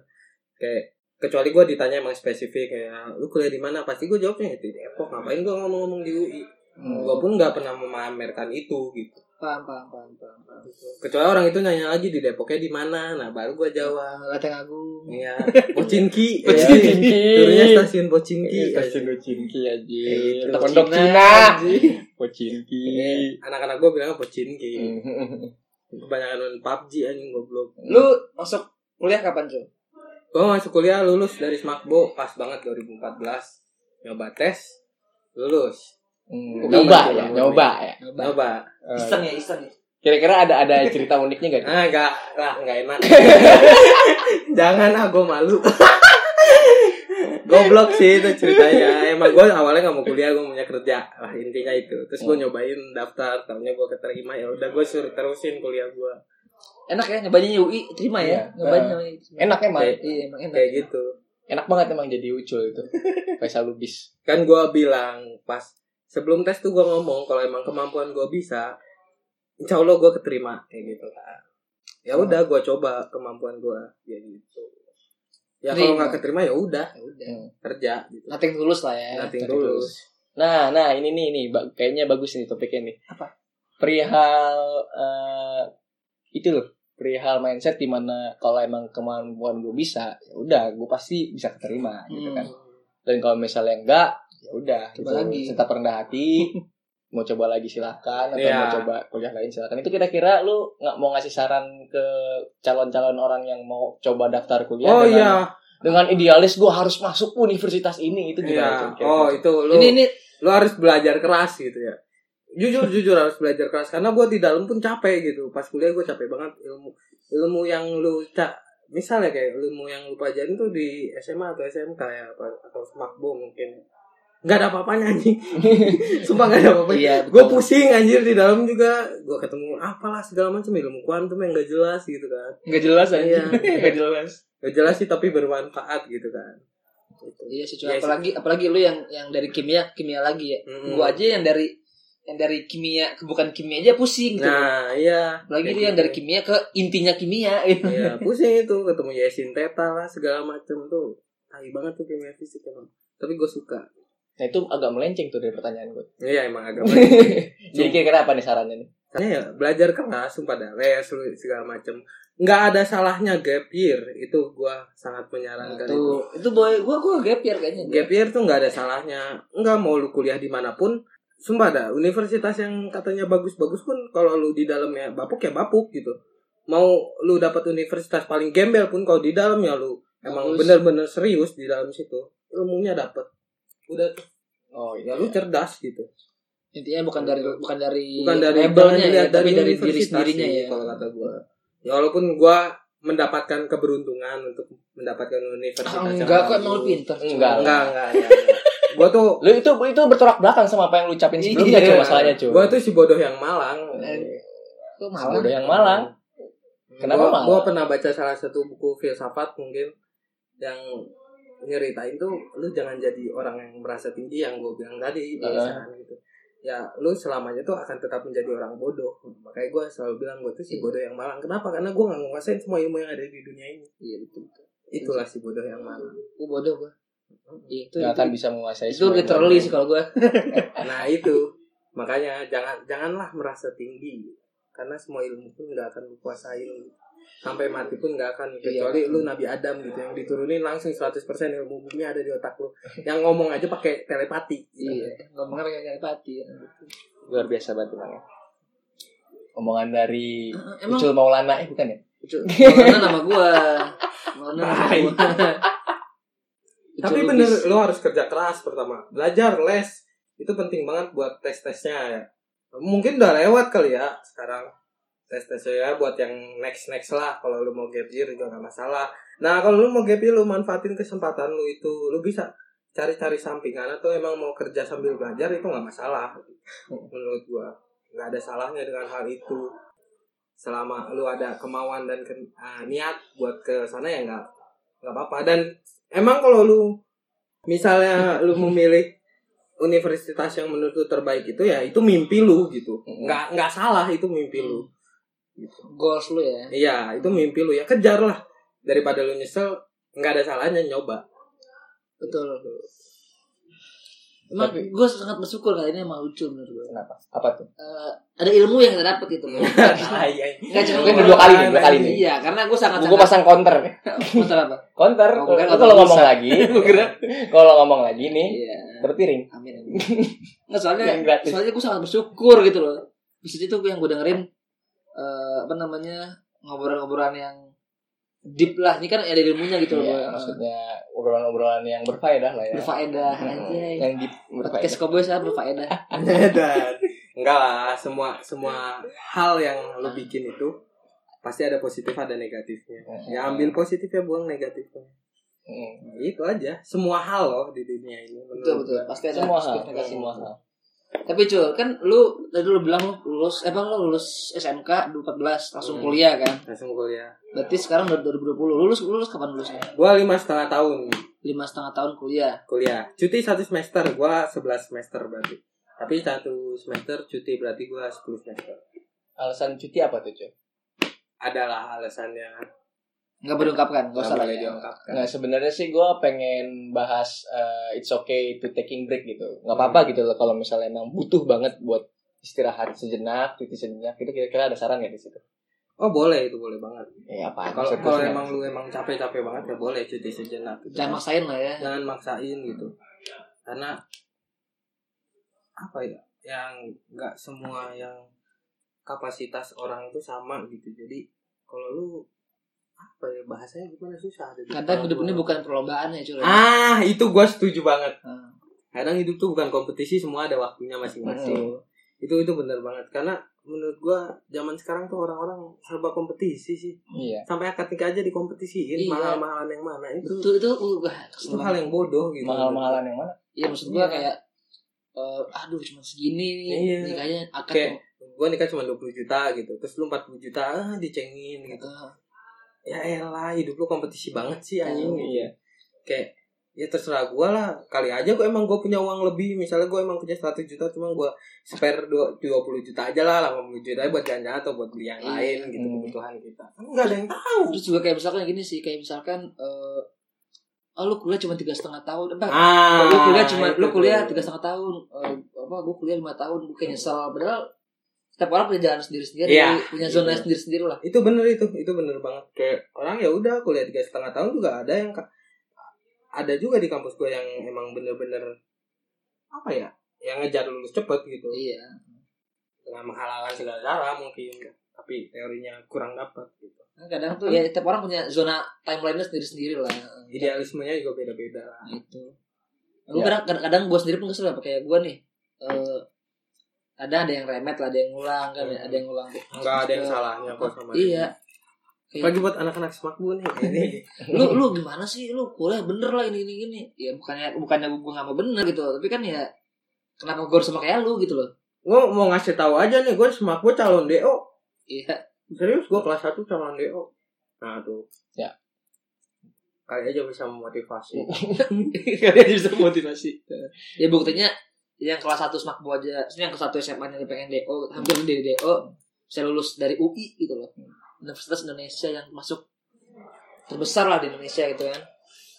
[SPEAKER 3] kayak kecuali gue ditanya emang spesifik kayak lu kuliah di mana pasti gue jawabnya "Ya, di Depok ngapain gue ngomong-ngomong di UI gue pun nggak pernah memamerkan itu gitu
[SPEAKER 1] Hmm. paham paham paham paham, paham.
[SPEAKER 3] kecuali orang itu nanya lagi di Depoknya di mana nah baru gue jawab
[SPEAKER 1] Jawa Lateng Ah, Agung
[SPEAKER 2] <laughs>
[SPEAKER 3] Iya, Pocinki.
[SPEAKER 2] Iya, Pocinki.
[SPEAKER 3] Ya, Turunnya stasiun Pocinki.
[SPEAKER 2] Iya, stasiun Pocinki
[SPEAKER 3] Iya,
[SPEAKER 2] aja.
[SPEAKER 3] itu.
[SPEAKER 2] Pondok
[SPEAKER 1] Cina,
[SPEAKER 2] Cina.
[SPEAKER 1] anjing.
[SPEAKER 2] Oh, Pocinki.
[SPEAKER 3] Anak-anak gue bilangnya
[SPEAKER 1] Iya.
[SPEAKER 3] Pocinki.
[SPEAKER 2] Mm.
[SPEAKER 3] Kebanyakan main PUBG anjing goblok.
[SPEAKER 1] lu masuk kuliah kapan cuy
[SPEAKER 3] Eh, Gue masuk kuliah lulus dari Smakbo pas banget 2014. Nyoba tes, lulus.
[SPEAKER 2] Mm.
[SPEAKER 3] Gua
[SPEAKER 2] Nyoba
[SPEAKER 3] bilang,
[SPEAKER 2] ya,
[SPEAKER 3] gua
[SPEAKER 2] nyoba ya.
[SPEAKER 3] Nyoba.
[SPEAKER 2] Eh,
[SPEAKER 1] iseng ya iseng ya
[SPEAKER 2] Kira-kira ada ada cerita uniknya gak?
[SPEAKER 3] Ah, enggak lah, enggak enak. <laughs> Jangan ah, gue malu. Goblok sih itu ceritanya. Emang gue awalnya nggak mau kuliah, gue punya kerja. Lah intinya itu. Terus gue nyobain daftar, tahunya gue keterima ya. Udah gue suruh terusin kuliah gue.
[SPEAKER 1] enak ya nyobanya UI terima
[SPEAKER 2] Iya.
[SPEAKER 1] ya nyobain
[SPEAKER 2] Eh,
[SPEAKER 1] namanya
[SPEAKER 2] Enak emang.
[SPEAKER 3] Kayak-
[SPEAKER 1] iya emang enak
[SPEAKER 3] Kayak gitu.
[SPEAKER 2] Enak banget emang jadi ucul
[SPEAKER 1] <laughs>
[SPEAKER 2] itu. Faisal Lubis.
[SPEAKER 3] Kan gue bilang pas sebelum tes tuh gue ngomong kalau emang kemampuan gue bisa, insya Allah gue keterima kayak gitu kan. Ya udah, gue coba kemampuan gue. Ya gitu. Ya kalau nggak keterima ya udah
[SPEAKER 1] ya udah
[SPEAKER 3] kerja gitu.
[SPEAKER 1] Nothing tulus lah ya
[SPEAKER 3] Nothing
[SPEAKER 2] Nothing
[SPEAKER 3] tulus.
[SPEAKER 2] Nah, nah ini nih nih ba- kayaknya bagus nih topiknya nih.
[SPEAKER 1] Apa?
[SPEAKER 2] Perihal eh, itu loh, perihal mindset di mana kalau emang kemampuan gue bisa, ya udah gue pasti bisa keterima
[SPEAKER 1] Hmm.
[SPEAKER 2] gitu kan. Dan kalau misalnya enggak, ya udah
[SPEAKER 1] Coba
[SPEAKER 2] gitu.
[SPEAKER 1] lagi.
[SPEAKER 2] Tetap rendah
[SPEAKER 1] <laughs>
[SPEAKER 2] hati. mau coba lagi silakan atau mau
[SPEAKER 3] Iya.
[SPEAKER 2] coba kuliah lain silakan. Itu kira-kira lu nggak mau ngasih saran ke calon-calon orang yang mau coba daftar kuliah
[SPEAKER 3] oh
[SPEAKER 2] dengan,
[SPEAKER 3] iya,
[SPEAKER 2] dengan idealis gue harus masuk universitas ini itu gimana?
[SPEAKER 3] iya.
[SPEAKER 2] tuh?
[SPEAKER 3] Oh itu lu,
[SPEAKER 1] ini ini
[SPEAKER 3] lu harus belajar keras gitu ya. Jujur jujur harus belajar keras karena gua di dalam pun capek gitu. Pas kuliah gua capek banget ilmu ilmu yang lu cak misalnya kayak ilmu yang lu pelajarin tuh di SMA atau SMK ya apa- atau smakbo mungkin nggak ada apa-apanya anjing <laughs> sumpah nggak ada apa-apanya
[SPEAKER 2] Iya,
[SPEAKER 3] gue
[SPEAKER 2] betul.
[SPEAKER 3] pusing anjir di dalam juga gue ketemu apalah segala macam ilmu kuantum yang nggak jelas gitu kan
[SPEAKER 1] nggak jelas aja
[SPEAKER 3] Iya.
[SPEAKER 1] <laughs> nggak jelas
[SPEAKER 3] nggak jelas sih tapi bermanfaat gitu kan Gitu.
[SPEAKER 1] iya sih
[SPEAKER 3] Iya
[SPEAKER 1] cuy
[SPEAKER 3] sih. Hmm.
[SPEAKER 1] apalagi apalagi lu yang yang dari kimia kimia lagi ya
[SPEAKER 3] Mm-mm.
[SPEAKER 1] gua aja yang dari yang dari kimia ke bukan kimia aja pusing gitu
[SPEAKER 3] Nah, iya.
[SPEAKER 1] apalagi
[SPEAKER 3] Kayak
[SPEAKER 1] lu yang
[SPEAKER 3] gitu.
[SPEAKER 1] dari kimia ke intinya kimia <laughs> gitu
[SPEAKER 3] Iya, pusing itu ketemu Yasin Teta lah segala macem tuh. Tai banget tuh kimia fisik emang. Tapi gue suka.
[SPEAKER 2] Nah itu agak melenceng tuh dari pertanyaan gue.
[SPEAKER 3] Iya, emang agak banyak.
[SPEAKER 1] Nah,
[SPEAKER 2] Jadi kira-kira apa nih sarannya nih?
[SPEAKER 3] Karena ya belajar keras sumpah dah, les lu segala macem. Nggak ada salahnya gap year. Itu gue sangat
[SPEAKER 1] Nah,
[SPEAKER 3] menyarankan itu.
[SPEAKER 1] tuh itu boy gua gua gap year kayaknya
[SPEAKER 3] gitu. Gap year tuh nggak ada salahnya. Nggak mau lu kuliah dimanapun. Sumpah dah, universitas yang katanya bagus-bagus pun kalau lu di dalamnya bapuk ya bapuk gitu. Mau lu dapat universitas paling gembel pun kalau di dalamnya lu emang
[SPEAKER 1] Bagus.
[SPEAKER 3] bener-bener serius di dalam situ, ilmunya dapat. Udah tuh,
[SPEAKER 2] Oh
[SPEAKER 3] ya lu cerdas gitu.
[SPEAKER 1] iya. intinya bukan dari bukan dari
[SPEAKER 3] Bukan dari
[SPEAKER 1] labelnya
[SPEAKER 3] jangan
[SPEAKER 1] ya,
[SPEAKER 3] dilihat
[SPEAKER 1] tapi dari diri
[SPEAKER 3] universitas
[SPEAKER 1] sendirinya
[SPEAKER 3] sih,
[SPEAKER 1] ya
[SPEAKER 3] kalau kata gua. Ya walaupun gua mendapatkan keberuntungan untuk mendapatkan universitas.
[SPEAKER 1] Ah,
[SPEAKER 3] yang
[SPEAKER 1] enggak kok
[SPEAKER 3] bagus.
[SPEAKER 1] emang lu pinter cuy.
[SPEAKER 2] Enggak.
[SPEAKER 3] Enggak, enggak, enggak, enggak. Gua tuh
[SPEAKER 2] Lu itu itu bertolak belakang sama apa yang lu ucapin sebelumnya
[SPEAKER 1] <laughs> Iya.
[SPEAKER 2] cuy masalahnya cuy.
[SPEAKER 3] Gua tuh si bodoh yang malang.
[SPEAKER 1] Eh, Lu malah
[SPEAKER 2] Bodoh yang malang. Kenapa
[SPEAKER 3] gua,
[SPEAKER 2] malang?
[SPEAKER 3] Gua pernah baca salah satu buku filsafat mungkin yang nyeritain tuh lu jangan jadi orang yang merasa tinggi yang gue bilang tadi biasaan gitu. Ya lu selamanya tuh akan tetap menjadi orang bodoh. Makanya gua selalu bilang gue tuh si bodoh yang malang. Kenapa? Karena gua nggak nguasain semua ilmu yang ada di dunia ini.
[SPEAKER 1] iya betul
[SPEAKER 3] Itulah si bodoh yang malang.
[SPEAKER 1] gua bodoh gua Iya, itu
[SPEAKER 2] Gak akan bisa menguasai
[SPEAKER 1] itu literally sih kalau gua
[SPEAKER 3] Nah itu makanya jangan janganlah merasa tinggi karena semua ilmu pun nggak akan dikuasai sampai mati pun nggak akan kecuali lu Nabi Adam gitu yang diturunin langsung 100% ilmu bumi ada di otak lu yang ngomong aja pakai telepati gitu.
[SPEAKER 1] iya ngomongnya pakai telepati ya.
[SPEAKER 2] luar biasa banget Bang, ya. Omongan dari
[SPEAKER 1] Eh, emang
[SPEAKER 2] Ucul Maulana eh bukan ya? <laughs>
[SPEAKER 1] Ucul, Maulana nama gua Maulana nama
[SPEAKER 3] Tai.
[SPEAKER 1] gua
[SPEAKER 3] Tapi
[SPEAKER 1] Itu
[SPEAKER 3] bener
[SPEAKER 1] lukis.
[SPEAKER 3] lo harus kerja keras pertama. Belajar les itu penting banget buat tes-tesnya ya. Mungkin udah lewat kali ya sekarang tes-tesnya ya buat yang next-next lah kalau lu mau gap year juga nggak masalah. Nah, kalau lu mau gap year lu manfaatin kesempatan lu itu. Lu bisa cari-cari sampingan atau emang mau kerja sambil belajar itu nggak masalah menurut gua. nggak ada salahnya dengan hal itu. Selama lu ada kemauan dan ke- ah, niat buat ke sana ya nggak nggak apa-apa dan emang kalau lu misalnya lu memilih universitas yang menurut lu terbaik itu ya itu mimpi lu gitu nggak nggak salah itu mimpi lu
[SPEAKER 1] goals lu ya
[SPEAKER 3] iya itu mimpi lu ya kejar lah daripada lu nyesel nggak ada salahnya nyoba
[SPEAKER 1] betul emang
[SPEAKER 2] Tapi-
[SPEAKER 1] gue sangat bersyukur kali ini emang lucu menurut gue
[SPEAKER 2] Kenapa? Apa tuh?
[SPEAKER 1] Eh, ada ilmu yang kita dapat gitu
[SPEAKER 2] <laughs>
[SPEAKER 3] Ah, <laughs> iya, iya.
[SPEAKER 1] Nggak cuma
[SPEAKER 2] Mungkin udah dua kali nih, dua kali nih.
[SPEAKER 1] iya karena gue sangat
[SPEAKER 2] Gue pasang counter nih.
[SPEAKER 1] Masalah
[SPEAKER 2] <laughs>
[SPEAKER 1] apa
[SPEAKER 2] Counter.
[SPEAKER 1] Oh, bukan,
[SPEAKER 2] Lu kalau
[SPEAKER 1] nggak
[SPEAKER 2] ngomong
[SPEAKER 1] bisa. <laughs>
[SPEAKER 2] lagi, kalau ngomong lagi nih,
[SPEAKER 1] iya
[SPEAKER 2] berpiring.
[SPEAKER 1] amin amin nggak soalnya
[SPEAKER 2] Yang gratis.
[SPEAKER 1] soalnya gue sangat bersyukur gitu loh di situ tuh yang gue dengerin eh, apa namanya ngobrol-ngobrolan yang deep lah ini kan ada ilmunya gitu loh
[SPEAKER 2] Iya,
[SPEAKER 1] Boy.
[SPEAKER 2] maksudnya obrolan-obrolan yang berfaedah lah ya.
[SPEAKER 1] berfaedah
[SPEAKER 2] Hmm,
[SPEAKER 1] anjay
[SPEAKER 2] Yang di berfaedah.
[SPEAKER 1] podcast koboy saya
[SPEAKER 3] <laughs>
[SPEAKER 1] berfaedah <laughs>
[SPEAKER 3] dan enggak lah semua semua hal yang lu bikin itu pasti ada positif ada negatifnya ya ambil positifnya buang negatifnya
[SPEAKER 2] Hmm.
[SPEAKER 3] Nah, itu aja semua hal loh di dunia ini menurut
[SPEAKER 1] betul betul pasti ada
[SPEAKER 2] Semua hal,
[SPEAKER 1] positif negatif.
[SPEAKER 2] semua hal.
[SPEAKER 1] tapi cuy kan lu tadi lu bilang lu lulus eh apa lu lulus SMK 2014 langsung
[SPEAKER 3] Hmm.
[SPEAKER 1] kuliah kan
[SPEAKER 3] langsung kuliah
[SPEAKER 1] berarti sekarang udah 2020 lulus lulus kapan lulusnya
[SPEAKER 3] gua lima setengah tahun
[SPEAKER 1] lima setengah tahun kuliah
[SPEAKER 3] kuliah cuti satu semester gua 11 semester berarti tapi satu semester cuti berarti gua 10 semester
[SPEAKER 2] Alasan cuti apa tuh, Cok?
[SPEAKER 3] adalah alasannya
[SPEAKER 1] nggak berungkapkan nggak
[SPEAKER 3] nggak
[SPEAKER 1] usah lah
[SPEAKER 3] boleh
[SPEAKER 1] ya.
[SPEAKER 3] diungkapkan
[SPEAKER 2] Nah sebenarnya sih gue pengen bahas uh, it's okay to taking break gitu. Gak apa-apa gitu loh kalau misalnya emang butuh banget buat istirahat sejenak, cuti sejenak. Itu kira-kira ada saran gak di situ?
[SPEAKER 3] oh boleh itu boleh banget
[SPEAKER 2] Ya apa?
[SPEAKER 3] kalau kalau emang lu emang capek-capek banget ya boleh cuti sejenak gitu.
[SPEAKER 1] jangan maksain lah ya
[SPEAKER 3] jangan maksain gitu karena apa ya yang nggak semua yang kapasitas orang itu sama gitu jadi kalau lu apa ya bahasanya gimana susah ada di
[SPEAKER 1] kadang
[SPEAKER 3] kepala
[SPEAKER 1] hidup ini
[SPEAKER 3] gua.
[SPEAKER 1] bukan perlombaan ya cuy
[SPEAKER 3] ah itu gua setuju banget
[SPEAKER 1] Hmm.
[SPEAKER 3] kadang hidup tuh bukan kompetisi semua ada waktunya masing-masing itu itu benar banget karena menurut gua zaman sekarang tuh orang-orang serba kompetisi sih
[SPEAKER 2] Iya.
[SPEAKER 3] sampai akad nikah aja dikompetisiin
[SPEAKER 1] Iya.
[SPEAKER 3] mahal-mahalan yang mana itu
[SPEAKER 1] itu itu uh, wah, kesel
[SPEAKER 3] itu hal yang bodoh
[SPEAKER 2] Iya.
[SPEAKER 3] gitu
[SPEAKER 2] Mahal-mahalan yang mana?
[SPEAKER 1] Iya maksud gua
[SPEAKER 3] Iya.
[SPEAKER 1] kayak eh, aduh cuma segini nih
[SPEAKER 3] Iya.
[SPEAKER 1] nikahnya akad
[SPEAKER 3] Kayak, gue nikah cuma 20 juta gitu terus lu 40 juta ah, dicengin gitu
[SPEAKER 1] Eh,
[SPEAKER 3] ya elah hidup lu kompetisi banget sih anjing gitu.
[SPEAKER 2] Iya.
[SPEAKER 3] kayak ya terserah gue lah kali aja gue emang gue punya uang lebih misalnya gue emang punya 100 juta cuma gue spare dua- 20 juta aja lah 80 juta aja buat jalan-jalan atau buat beli yang
[SPEAKER 1] Iya.
[SPEAKER 3] lain gitu
[SPEAKER 2] Hmm.
[SPEAKER 3] kebutuhan kita Kan nggak ada yang tahu
[SPEAKER 1] terus juga kayak misalkan gini sih kayak misalkan eh oh, lu kuliah cuma tiga setengah tahun entah
[SPEAKER 3] ah
[SPEAKER 1] lu kuliah cuma
[SPEAKER 3] itu
[SPEAKER 1] lu kuliah
[SPEAKER 3] tuh.
[SPEAKER 1] tiga setengah tahun Eh, apa gua kuliah lima tahun gue kayak nyesel padahal setiap orang punya jalan sendiri sendiri
[SPEAKER 3] Iya.
[SPEAKER 1] punya zona
[SPEAKER 3] Iya.
[SPEAKER 1] sendiri sendiri lah
[SPEAKER 3] itu bener itu itu bener banget kayak orang ya udah kuliah tiga setengah tahun juga ada yang ka- ada juga di kampus gue yang emang bener-bener apa ya yang ngejar lulus cepet gitu
[SPEAKER 1] iya
[SPEAKER 3] dengan menghalalkan segala cara mungkin tapi teorinya kurang dapat gitu
[SPEAKER 1] Kan kadang tuh ya setiap orang punya zona timelinenya sendiri sendiri lah
[SPEAKER 3] idealismenya juga beda-beda
[SPEAKER 1] itu gue kadang
[SPEAKER 3] Iya.
[SPEAKER 1] kadang, kadang gue sendiri pun kesel ya kayak gue nih eh ada ada yang remet lah ada yang ngulang kan ya, ada yang ngulang
[SPEAKER 3] nggak ada yang salahnya kok sama
[SPEAKER 1] iya
[SPEAKER 3] dia. apalagi buat anak-anak semakbu nih ini
[SPEAKER 1] lu lu gimana sih lu kuliah bener lah ini ini gini ya bukannya bukannya gue nggak mau bener gitu tapi kan ya kenapa gue harus sama kayak lu gitu loh
[SPEAKER 3] gue mau ngasih tahu aja nih gue semakbu calon do
[SPEAKER 1] iya
[SPEAKER 3] serius gue kelas 1 calon do nah tuh
[SPEAKER 2] Ya.
[SPEAKER 3] kali aja bisa memotivasi
[SPEAKER 1] kalian bisa motivasi ya buktinya yang kelas satu smak bu aja maksudnya yang kelas satu SMA nya pengen DO hampir dari DO saya lulus dari UI gitu loh Universitas Indonesia yang masuk terbesar lah di Indonesia gitu kan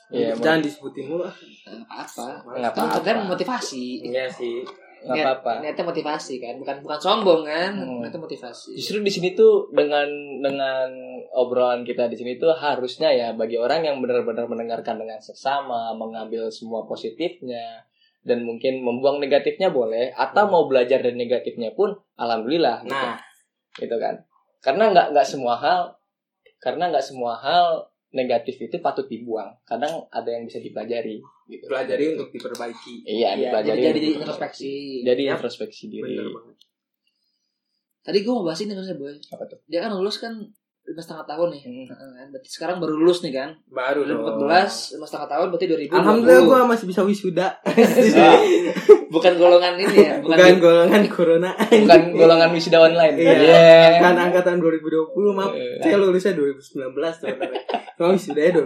[SPEAKER 2] Iya.
[SPEAKER 3] jangan disebutin mulu ah.
[SPEAKER 1] Nah, apa
[SPEAKER 2] Nggak
[SPEAKER 1] Kan
[SPEAKER 2] apa-apa.
[SPEAKER 1] katanya motivasi
[SPEAKER 3] Iya sih.
[SPEAKER 2] Gak
[SPEAKER 1] Niat-
[SPEAKER 2] apa-apa.
[SPEAKER 1] niatnya motivasi kan bukan bukan sombong kan
[SPEAKER 2] Hmm.
[SPEAKER 1] niatnya motivasi
[SPEAKER 2] Justru di sini tuh dengan dengan obrolan kita di sini tuh harusnya ya bagi orang yang benar-benar mendengarkan dengan seksama, mengambil semua positifnya dan mungkin membuang negatifnya boleh atau mau belajar dari negatifnya pun alhamdulillah gitu.
[SPEAKER 3] Nah,
[SPEAKER 2] gitu kan karena nggak nggak semua hal karena nggak semua hal negatif itu patut dibuang. Kadang ada yang bisa dipelajari. Gitu.
[SPEAKER 3] pelajari untuk diperbaiki
[SPEAKER 2] Iya,
[SPEAKER 1] Iya,
[SPEAKER 2] dipelajari.
[SPEAKER 1] jadi jadi
[SPEAKER 2] untuk-
[SPEAKER 1] introspeksi.
[SPEAKER 2] Jadi
[SPEAKER 3] Yap.
[SPEAKER 2] introspeksi diri.
[SPEAKER 3] Iya. bener banget
[SPEAKER 1] Tadi gue mau bahas ini sebenarnya boy.
[SPEAKER 2] Apa tuh?
[SPEAKER 1] Dia kan lulus kan lima setengah tahun nih.
[SPEAKER 2] Hmm.
[SPEAKER 1] Heeh, kan. Berarti sekarang baru lulus nih kan.
[SPEAKER 2] Oh.
[SPEAKER 3] baru dong
[SPEAKER 1] 2014 lima setengah tahun berarti 2020.
[SPEAKER 3] alhamdulillah gua masih bisa wisuda
[SPEAKER 2] Ah,
[SPEAKER 1] bukan golongan ini ya. Bukan,
[SPEAKER 3] bukan golongan <laughs> corona
[SPEAKER 2] bukan golongan wisuda online.
[SPEAKER 3] Iya.
[SPEAKER 2] Yeah.
[SPEAKER 3] kan angkatan 2020 maaf
[SPEAKER 2] Iya.
[SPEAKER 3] saya lulusnya 2019 sebenarnya cuma wisudanya